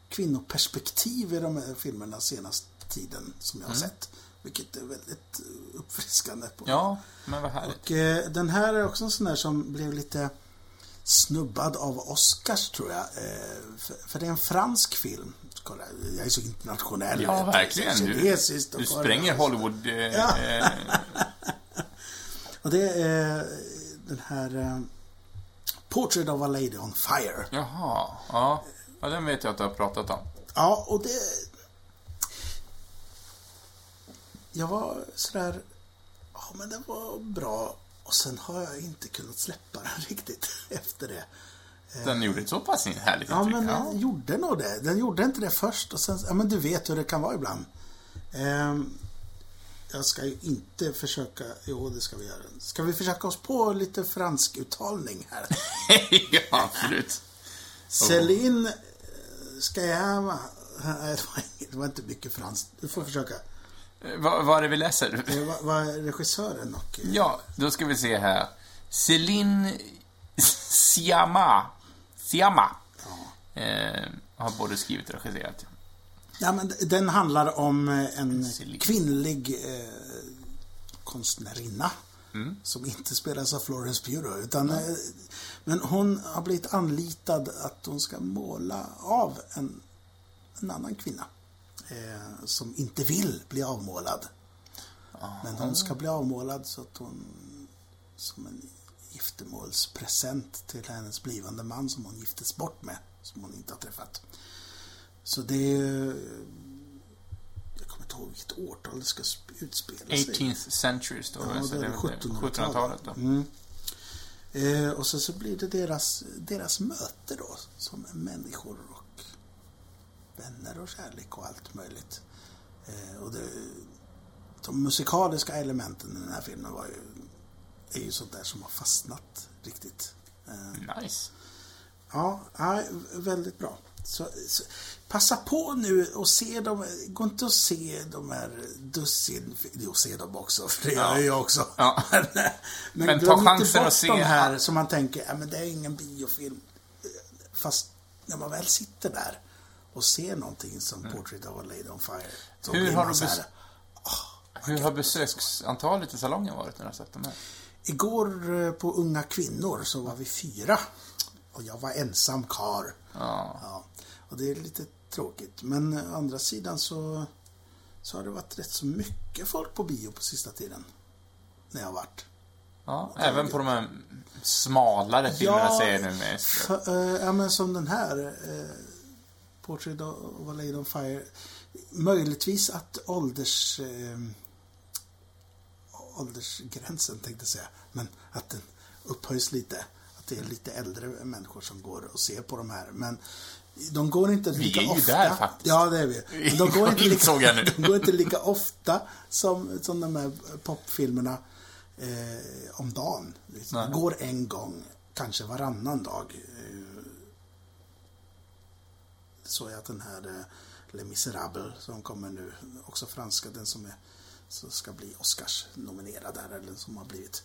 Speaker 2: Kvinnoperspektiv i de här filmerna senaste tiden som jag har sett. Vilket är väldigt uppfriskande. På
Speaker 1: Ja, men vad härligt.
Speaker 2: Och eh, den här är också en sån där som blev lite snubbad av Oscars tror jag. Eh, för, för det är en fransk film. Kolla, jag är så internationell.
Speaker 1: Ja, verkligen. Du,
Speaker 2: Kinesiskt och
Speaker 1: du spränger Hollywood... Eh, eh,
Speaker 2: Och det är eh, den här eh, Portrait of a Lady on Fire.
Speaker 1: jaha, ja. Ja, den vet jag att du har pratat om.
Speaker 2: Ja, och det... jag var sådär, ja men den var bra. Och sen har jag inte kunnat släppa den riktigt efter det.
Speaker 1: Den gjorde ett så pass härligt
Speaker 2: Ja,
Speaker 1: intryck.
Speaker 2: men
Speaker 1: ja.
Speaker 2: den gjorde nog det. Den gjorde inte det först och sen, ja men du vet hur det kan vara ibland. Ehm, jag ska ju inte försöka, jo det ska vi göra. Ska vi försöka oss på lite fransk uttalning här?
Speaker 1: ja, absolut.
Speaker 2: Céline eh, ska jag... Nej, det var inget- det var inte mycket franskt. Du får försöka.
Speaker 1: Eh, Vad, vad är det vi läser?
Speaker 2: Eh, Vad vad är regissören och... eh,
Speaker 1: Ja, då ska vi se här. Céline Siama. Siama. Eh, har både skrivit och regisserat.
Speaker 2: Ja, men d- den handlar om eh, en
Speaker 1: Céline.
Speaker 2: kvinnlig eh, konstnärinna. Som inte spelas av Florence Pugh då, utan eh, Men hon har blivit anlitad att hon ska måla av en, en annan kvinna. Eh, som inte vill bli avmålad. Men hon ska bli avmålad så att hon som en giftermålspresent till hennes blivande man som hon giftes bort med. Som hon inte har träffat. Så det är... Jag kommer inte ihåg vilket årtal det ska sp- utspela sig.
Speaker 1: 18th century står
Speaker 2: Ja,
Speaker 1: så
Speaker 2: det är
Speaker 1: väl
Speaker 2: 1700-talet.
Speaker 1: 1700-talet alltså, då.
Speaker 2: Eh, och så, så blir det deras, deras möte då, som människor och vänner och kärlek och allt möjligt. Eh, och det, de musikaliska elementen i den här filmen var ju, är ju sånt där som har fastnat riktigt. Eh,
Speaker 1: Nice.
Speaker 2: Ja, ja, väldigt bra. Så, så, passa på nu och se dem. Gå inte och se de här dussin... Jo, se dem också, för det gör
Speaker 1: Ja.
Speaker 2: jag också.
Speaker 1: Ja.
Speaker 2: Men,
Speaker 1: Men
Speaker 2: glöm
Speaker 1: ta
Speaker 2: inte
Speaker 1: chansen
Speaker 2: bort
Speaker 1: att se-
Speaker 2: de här som man tänker, ja, men det är ingen biofilm. Fast när man väl sitter där och ser någonting som Portrait of a Lady on Fire, så
Speaker 1: Mm. Hur
Speaker 2: blir
Speaker 1: har
Speaker 2: man
Speaker 1: du
Speaker 2: så här,
Speaker 1: bes- Hur har besöksantalet i salongen varit när du har sett de här?
Speaker 2: Igår eh, på Unga Kvinnor så var vi fyra. Och jag var ensam kar.
Speaker 1: Ja.
Speaker 2: Ja, och det är lite tråkigt. Men eh, å andra sidan så, så har det varit rätt så mycket folk på bio på sista tiden. När jag har varit.
Speaker 1: ja. Även på de här smalare filmerna säger du med.
Speaker 2: f- eh, ja, men som den här. Eh, Portrait of a Lady on Fire. Möjligtvis att ålders... Eh, åldersgränsen tänkte jag säga. Men att den upphöjs lite. Att det är lite äldre människor som går och ser på de här. Men de går inte lika
Speaker 1: är ju
Speaker 2: ofta.
Speaker 1: där faktiskt.
Speaker 2: Ja, det är vi. Men De går inte lika,
Speaker 1: Insåg jag nu.
Speaker 2: de går inte lika ofta som, som de här popfilmerna eh, om dagen. Liksom. De
Speaker 1: Nej.
Speaker 2: går en gång, kanske varannan dag. Eh, såg jag att den här eh, Les Misérables som kommer nu, också franska, den som är som ska bli Oscars-nominerad här, eller som har blivit.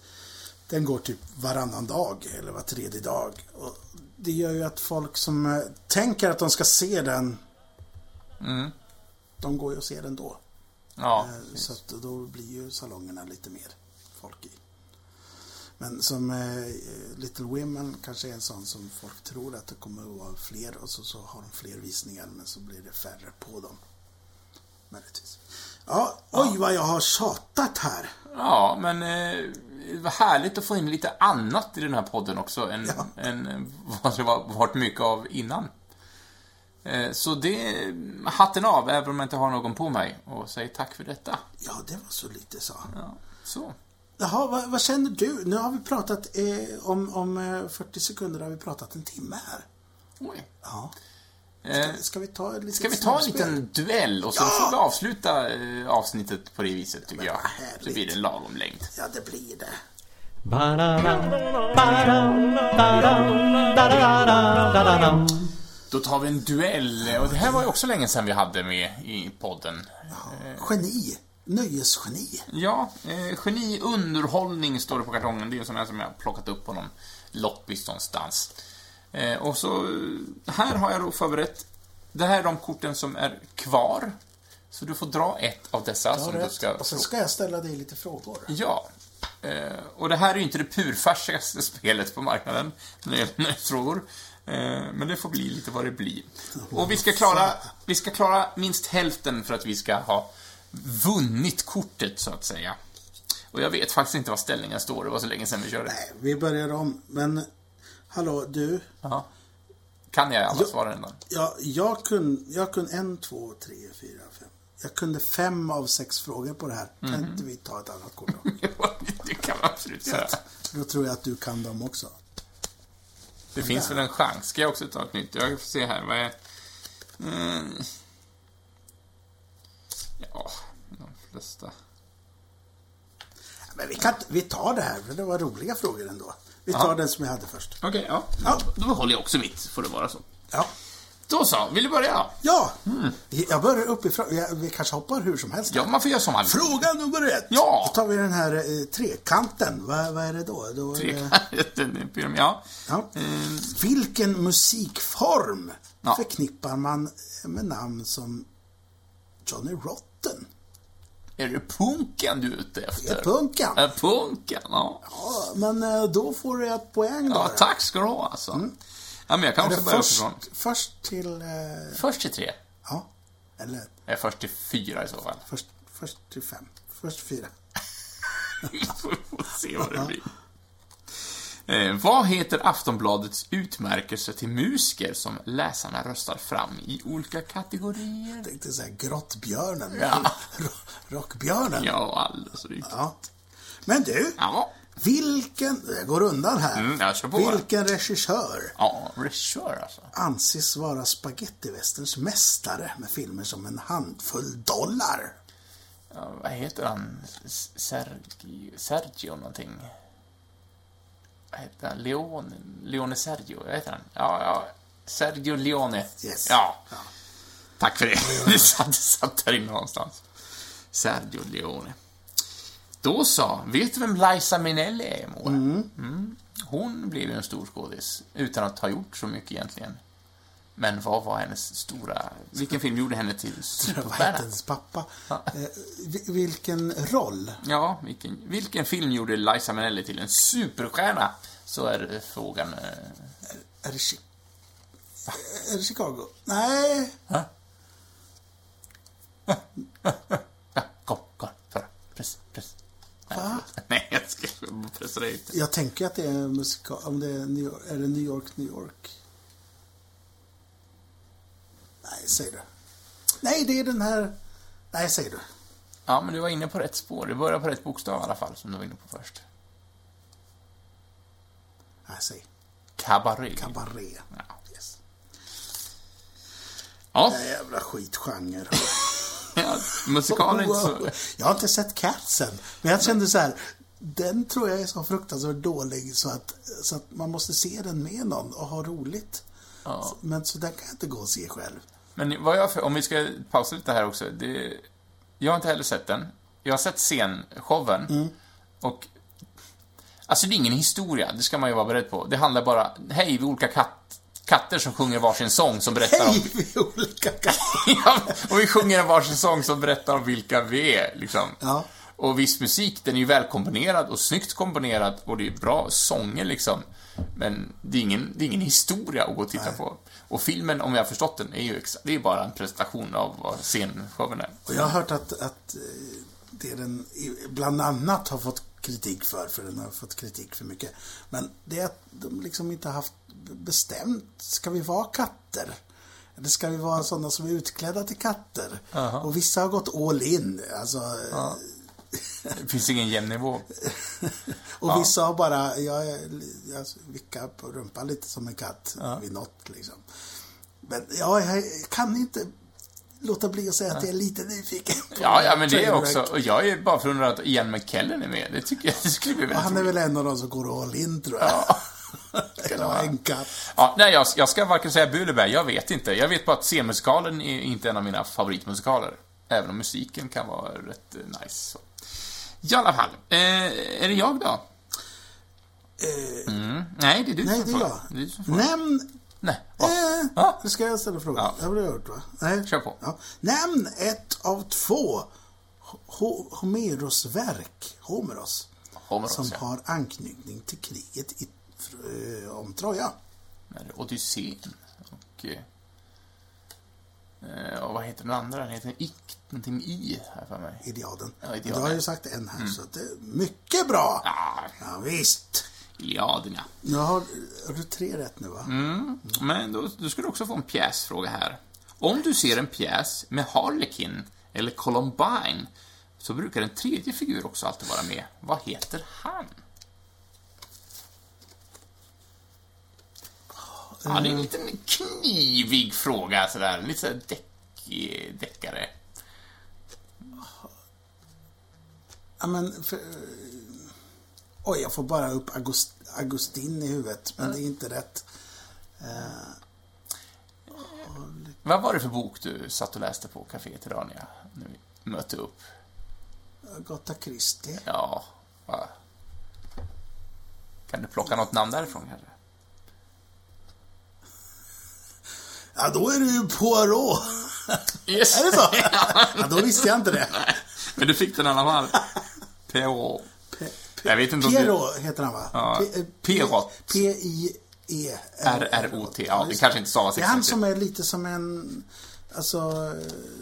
Speaker 2: Den går typ varannan dag, eller var tredje dag. Och det gör ju att folk som eh, tänker att de ska se den, de går ju och ser den då.
Speaker 1: Ja,
Speaker 2: Eh, Så att då blir ju salongerna lite mer folk i. Men som eh, Little Women kanske är en sån som folk tror att det kommer att vara fler och så, så har de fler visningar men så blir det färre på dem. Möjligtvis. Ja, oj vad jag har tjatat här.
Speaker 1: Ja, men eh, det var härligt att få in lite annat i den här podden också än, än vad det var, varit mycket av innan. Eh, så det, hatten av, även om jag inte har någon på mig, och säger tack för detta.
Speaker 2: Ja, det var så lite så.
Speaker 1: Ja, så.
Speaker 2: Jaha, vad, vad känner du? Nu har vi pratat eh, om, om eh, 40 sekunder har vi pratat en timme här.
Speaker 1: Oj.
Speaker 2: Ja.
Speaker 1: Eh,
Speaker 2: Ska vi ta lite
Speaker 1: ska vi ta en liten duell och sen får vi avsluta eh, avsnittet på det viset, tycker jag.
Speaker 2: vad härligt.
Speaker 1: Så blir det en lagom längd.
Speaker 2: Ja, det blir det.
Speaker 1: Då tar vi en duell, och det här var ju också länge sedan vi hade med i podden.
Speaker 2: Geni. Nöjesgeni.
Speaker 1: Ja, eh, geni underhållning står det på kartongen. Det är en sån här som jag har plockat upp på någon loppis någonstans. Eh, och så, eh, här har jag då förberett. Det här är de korten som är kvar. Så du får dra ett av dessa som du ska...
Speaker 2: Och sen ska jag ställa dig lite frågor.
Speaker 1: Ja. Eh, och det här är ju inte det purfärskaste spelet på marknaden när det gäller nöjesfrågor. Eh, men det får bli lite vad det blir. Och vi ska klara, vi ska klara minst hälften för att vi ska ha vunnit kortet, så att säga. Och jag vet faktiskt inte vad ställningen står, det var så länge sedan vi körde.
Speaker 2: Nej, vi börjar om. Men hallå, du.
Speaker 1: Ja. Kan jag alla svaren ändå?
Speaker 2: Jag, jag kunde jag kun en, två, tre, fyra, fem, Jag kunde fem av sex frågor på det här. Kan
Speaker 1: Mhm.
Speaker 2: inte vi ta ett annat kort då?
Speaker 1: det kan man absolut göra.
Speaker 2: Då tror jag att du kan dem också.
Speaker 1: Det finns väl en chans. Ska jag också ta ett nytt? Jag får se här. Vad är... Mm. Ja, de flesta...
Speaker 2: Men vi, kan, vi tar det här, för det var roliga frågor ändå. Vi tar den som jag hade först.
Speaker 1: Okej, ja.
Speaker 2: Ja.
Speaker 1: Då håller jag också mitt, får det vara så.
Speaker 2: Ja.
Speaker 1: Då så, vill du börja?
Speaker 2: Ja!
Speaker 1: Mm.
Speaker 2: Jag börjar uppifrån. Jag, vi kanske hoppar hur som helst.
Speaker 1: Ja, man får göra som man vill.
Speaker 2: Fråga nummer ett!
Speaker 1: Ja.
Speaker 2: Då tar vi den här eh, trekanten. Vad vad är det då? då är det,
Speaker 1: Den är pyram- Ja.
Speaker 2: ja.
Speaker 1: Ehm,
Speaker 2: Vilken musikform
Speaker 1: Ja.
Speaker 2: förknippar man med namn som Johnny Rotten?
Speaker 1: Är det punken du är ute efter?
Speaker 2: Är punken?
Speaker 1: Är punken, ja.
Speaker 2: Ja, men eh, då får du ett poäng då.
Speaker 1: Ja, tack ska du ha alltså. Ja, men jag kan
Speaker 2: Är
Speaker 1: också
Speaker 2: det
Speaker 1: börja
Speaker 2: först,
Speaker 1: uppifrån.
Speaker 2: först till... eh,
Speaker 1: Först till tre.
Speaker 2: Ja. Eller
Speaker 1: Jag är först till fyra i så fall.
Speaker 2: först, först till fem. Först till fyra.
Speaker 1: Vi får se vad det blir. Eh, vad heter Aftonbladets utmärkelse till musiker som läsarna röstar fram i olika kategorier?
Speaker 2: Jag tänkte säga grottbjörnen.
Speaker 1: Ja.
Speaker 2: Ro- Rockbjörnen. Ja.
Speaker 1: Ja, alldeles riktigt.
Speaker 2: Men du,
Speaker 1: Ja.
Speaker 2: vilken... Jag går undan här.
Speaker 1: Mm, jag kör på.
Speaker 2: vilken regissör
Speaker 1: Ja, regissör alltså.
Speaker 2: anses vara spagettivästerns mästare med filmer som En handfull dollar?
Speaker 1: Ja, vad heter han? S- Sergio, Sergio någonting? Vad heter han? Leone? Leone Sergio? Vad heter han? Ja, ja. Sergio Leone.
Speaker 2: Yes.
Speaker 1: Ja. Tack för det. Det satt, det satt där inne någonstans. Sergio Leone. Då så. Vet du vem Liza Minnelli är, Moa? Mm. Hon blev ju en stor skådis, utan att ha gjort så mycket egentligen. Men vad var hennes stora... Vilken film gjorde henne till
Speaker 2: Vad hette
Speaker 1: superstjärna?
Speaker 2: hennes pappa? Eh, vi- vilken roll?
Speaker 1: Ja, vilken, vilken film gjorde Liza Minnelli till en superstjärna? Så är det frågan. eh,
Speaker 2: Är det, Chi- är det Chicago? Nej.
Speaker 1: Ja, kom, kom, förra. Press, press. Nej, förlåt. Nej, jag ska pressa dig ut.
Speaker 2: Jag tänker att det är musikal... Om det är New York, är det New York, New York? Nej, säg du. Nej, det är den här... Nej, säg du.
Speaker 1: Ja, men du var inne på rätt spår. Du började på rätt bokstav i alla fall, som du var inne på först.
Speaker 2: Nej, säg.
Speaker 1: Cabaret.
Speaker 2: Cabaret.
Speaker 1: Ja.
Speaker 2: Yes.
Speaker 1: Ja,
Speaker 2: Det är jävla skitgenre.
Speaker 1: ja musikal är inte så...
Speaker 2: Jag har inte sett Catsen, men jag kände så här. Den tror jag är så fruktansvärt dålig så att, så att man måste se den med någon och ha roligt.
Speaker 1: Ja.
Speaker 2: Men så den kan jag inte gå och se själv.
Speaker 1: Men vad jag, om vi ska pausa lite här också. Det, jag har inte heller sett den. Jag har sett scenshowen. Och, alltså det är ingen historia, det ska man ju vara beredd på. Det handlar bara, hej, vi är olika katt, katter som sjunger varsin sång som berättar om...
Speaker 2: Hej, vi är olika katter.
Speaker 1: Ja, och vi sjunger en varsin sång som berättar om vilka vi är, liksom.
Speaker 2: Ja.
Speaker 1: Och viss musik, den är ju välkomponerad och snyggt komponerad och det är bra sånger, liksom. Men det är ingen, det är ingen historia att gå och titta på. Och filmen, om jag har förstått den, är ju exa- det är bara en presentation av vad scenshowen är.
Speaker 2: Och jag har hört att, att eh, det den i- bland annat har fått kritik för, för den har fått kritik för mycket. Men det är att de liksom inte har haft bestämt, ska vi vara katter? Eller ska vi vara sådana som är utklädda till katter? Och vissa har gått all in, alltså. eh,
Speaker 1: Det finns ingen jämn nivå.
Speaker 2: Och vissa har bara, jag, är li- jag vickar på rumpan lite som en katt vid något liksom. Men ja, jag kan inte låta bli att säga att jag är lite nyfiken. på
Speaker 1: Ja, ja, men det är
Speaker 2: Trainwreck.
Speaker 1: också... Och jag är bara förundrad att Ian McKellen är med. Det tycker jag det skulle bli
Speaker 2: Ja,
Speaker 1: väldigt
Speaker 2: Han är väl en av de som går all in tror jag.
Speaker 1: vara.
Speaker 2: Eller en katt.
Speaker 1: Ja, nej, jag, jag ska varken säga bu eller bä, jag vet inte. Jag vet bara att C-musikalen är inte en av mina favoritmusikaler. Även om musiken kan vara rätt eh, nice. Så. I alla fall, eh, är det jag då? Mm. Nej, det är du
Speaker 2: Eh, Nej,
Speaker 1: som
Speaker 2: det är
Speaker 1: får.
Speaker 2: jag.
Speaker 1: Det är du som får.
Speaker 2: Nämn...
Speaker 1: Nej. Va?
Speaker 2: Eh,
Speaker 1: Ja.
Speaker 2: Nu ska jag ställa frågan.
Speaker 1: Ja.
Speaker 2: Det har du gjort va? Nej.
Speaker 1: Kör på.
Speaker 2: Ja. Nämn ett av två Ho- Homeros verk, Homeros,
Speaker 1: Homeros,
Speaker 2: som
Speaker 1: ja.
Speaker 2: har anknytning till kriget i, fr- eh, om Troja.
Speaker 1: Nej, det är Odysseen. Och... eh, Eh, och vad heter den andra? Den heter Ikt, någonting med I, har jag för mig.
Speaker 2: Iliaden.
Speaker 1: Ja, Mm. Iliaden.
Speaker 2: Du har ju sagt en här, så att det är mycket bra.
Speaker 1: Ah,
Speaker 2: Ja, visst.
Speaker 1: Iliaden, ja.
Speaker 2: Nu har, har du tre rätt nu va?
Speaker 1: Men då, då ska du också få en pjäsfråga här. Om du ser en pjäs med Harlekin eller Columbine, så brukar en tredje figur också alltid vara med. Vad heter han? Ja, det är en liten knivig fråga sådär. Lite sådär deck- deckare.
Speaker 2: Ja, men... För... Oj, jag får bara upp August... Augustin i huvudet, men det är inte rätt.
Speaker 1: Vad var det för bok du satt och läste på kaféet idag när jag när vi mötte upp?
Speaker 2: Agatha Christie.
Speaker 1: Ja, va? Kan du plocka något namn därifrån kanske?
Speaker 2: Ja, då är det ju Poirot.
Speaker 1: Yes.
Speaker 2: Är det så? Ja, då visste jag inte det.
Speaker 1: Men du fick den i alla fall. Perot. Jag vet inte om du...
Speaker 2: Pierrot heter han va?
Speaker 1: Ja,
Speaker 2: P- eh,
Speaker 1: Pierrot.
Speaker 2: P-I-E.
Speaker 1: R-R-O-T. Ja, det kanske inte stavas
Speaker 2: Det är han
Speaker 1: exakt.
Speaker 2: som är lite som en, alltså,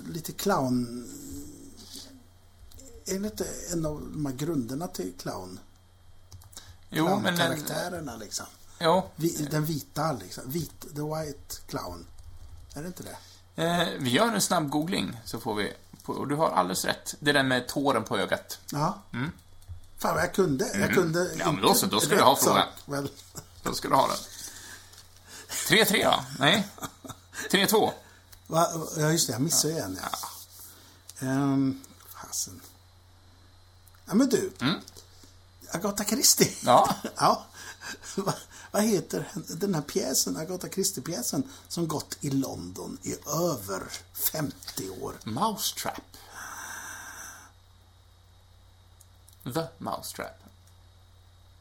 Speaker 2: lite clown. Är det inte en av de här grunderna till clown?
Speaker 1: Jo, men... eh,
Speaker 2: Clown-karaktärerna liksom.
Speaker 1: Jo.
Speaker 2: Vi, den vita liksom. Vit, the white clown. Är det inte det?
Speaker 1: Eh, vi gör en snabb googling, så får vi... Och du har alldeles rätt. Det där med tåren på ögat.
Speaker 2: Ja. Fan vad jag kunde. Jag kunde
Speaker 1: Mm. Ja, men
Speaker 2: inte
Speaker 1: då så, då ska du ha
Speaker 2: rätt
Speaker 1: frågan.
Speaker 2: sak, väl.
Speaker 1: Då ska du ha den. 3-3 va? Nej. 3-2.
Speaker 2: Va? Ja, just det. Jag missade ju en. Ja. Ehm, fasen. Ja, men du. Agatha Christie.
Speaker 1: Mm. Ja.
Speaker 2: ja. Va, vad heter den här pjäsen, Agatha Christie-pjäsen, som gått i London i över 50 år?
Speaker 1: Mousetrap. The Mousetrap.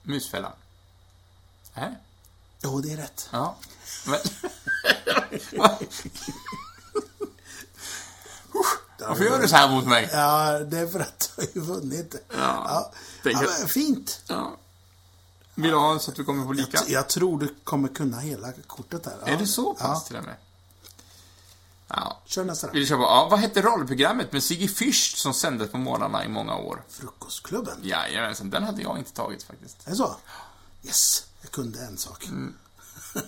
Speaker 1: Musfällan. Nej.
Speaker 2: Jo, det är rätt.
Speaker 1: Ja. Men... Varför gör du så här mot mig?
Speaker 2: Ja, det är för att du har ju vunnit. Ja.
Speaker 1: Det
Speaker 2: ja
Speaker 1: är-
Speaker 2: men, fint.
Speaker 1: Ja. Vill du ha så att vi kommer på lika?
Speaker 2: Jag, jag tror du kommer kunna hela kortet där. Ja.
Speaker 1: Är det så pass
Speaker 2: Ja.
Speaker 1: till och med? Ja.
Speaker 2: Kör nästa då.
Speaker 1: Vill du köpa? Ja, vad hette rollprogrammet med Sigge Fürst som sändes på morgnarna i många år?
Speaker 2: Frukostklubben.
Speaker 1: Jajamensan, den hade jag inte tagit faktiskt.
Speaker 2: Är det så? Yes, jag kunde en sak.
Speaker 1: Mm.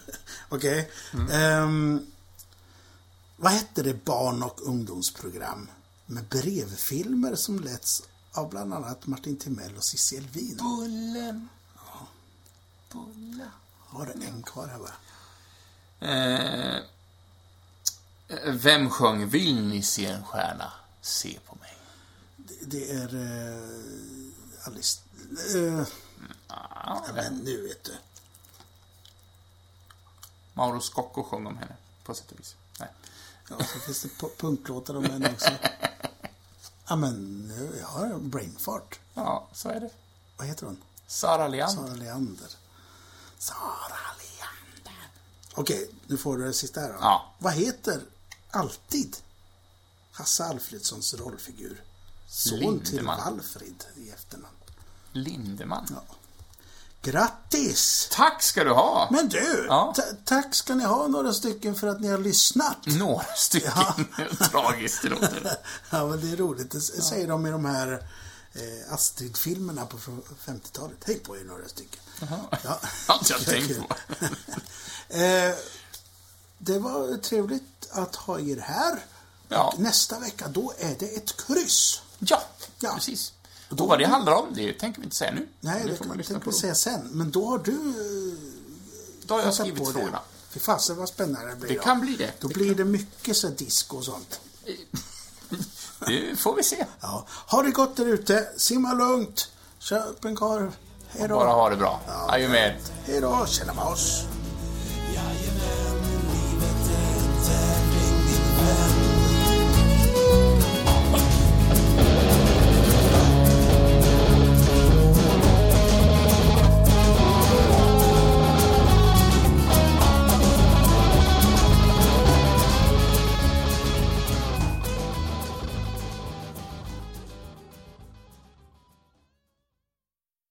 Speaker 2: Okej. Ehm, vad hette det barn och ungdomsprogram med brevfilmer som letts av bland annat Martin Timell och Cissi Elvin?
Speaker 1: Bullen. Bulla.
Speaker 2: Har du en kvar här va?
Speaker 1: Eh, vem sjöng Vill ni se en stjärna? Se på mig.
Speaker 2: Det, det är eh, Alice... Eh, ja, men nu vet du.
Speaker 1: Mauro Scocco sjöng om henne, på sätt och vis. Nej.
Speaker 2: Ja, så finns det pu- punklåtar om henne också. Ja, men nu, jag har en brainfart.
Speaker 1: Ja, så är det.
Speaker 2: Vad heter hon?
Speaker 1: Sara Leander.
Speaker 2: Sara Leander. Sara Leander. Okej, nu får du det sista här då.
Speaker 1: Ja.
Speaker 2: Vad heter alltid Hasse Alfredsons rollfigur? Son till
Speaker 1: Lindeman.
Speaker 2: Valfrid i efternamn.
Speaker 1: Lindeman.
Speaker 2: Grattis!
Speaker 1: Tack ska du ha!
Speaker 2: Men du!
Speaker 1: Ja.
Speaker 2: ta- Tack ska ni ha några stycken för att ni har lyssnat.
Speaker 1: Några stycken. Tragiskt det låter.
Speaker 2: Ja, men det är roligt. Det s- säger de i de här eh, Astrid-filmerna på från 50-talet. Hej på er några stycken. Ja.
Speaker 1: Har inte jag tänkt på.
Speaker 2: Eh, det var trevligt att ha er här.
Speaker 1: Ja.
Speaker 2: Och nästa vecka, då är det ett kryss.
Speaker 1: Ja,
Speaker 2: Ja.
Speaker 1: precis. Och då vad det handlar om, det tänker vi inte säga nu.
Speaker 2: Nej, det
Speaker 1: får man
Speaker 2: kan-
Speaker 1: lyssna
Speaker 2: tänker
Speaker 1: på.
Speaker 2: vi
Speaker 1: då.
Speaker 2: säga sen. Men då har du
Speaker 1: Då har jag
Speaker 2: satt på
Speaker 1: skrivit frågorna.
Speaker 2: det. Fy fasen vad spännande det blir.
Speaker 1: Det
Speaker 2: då.
Speaker 1: kan bli det.
Speaker 2: Då blir det mycket så här disco och sånt.
Speaker 1: Det får vi se.
Speaker 2: Ja. Ha det gott där ute. Simma lugnt. Köp en korv. Hej
Speaker 1: Bara
Speaker 2: då.
Speaker 1: ha det bra. Adjö med.
Speaker 2: Hej då. Tjena med oss.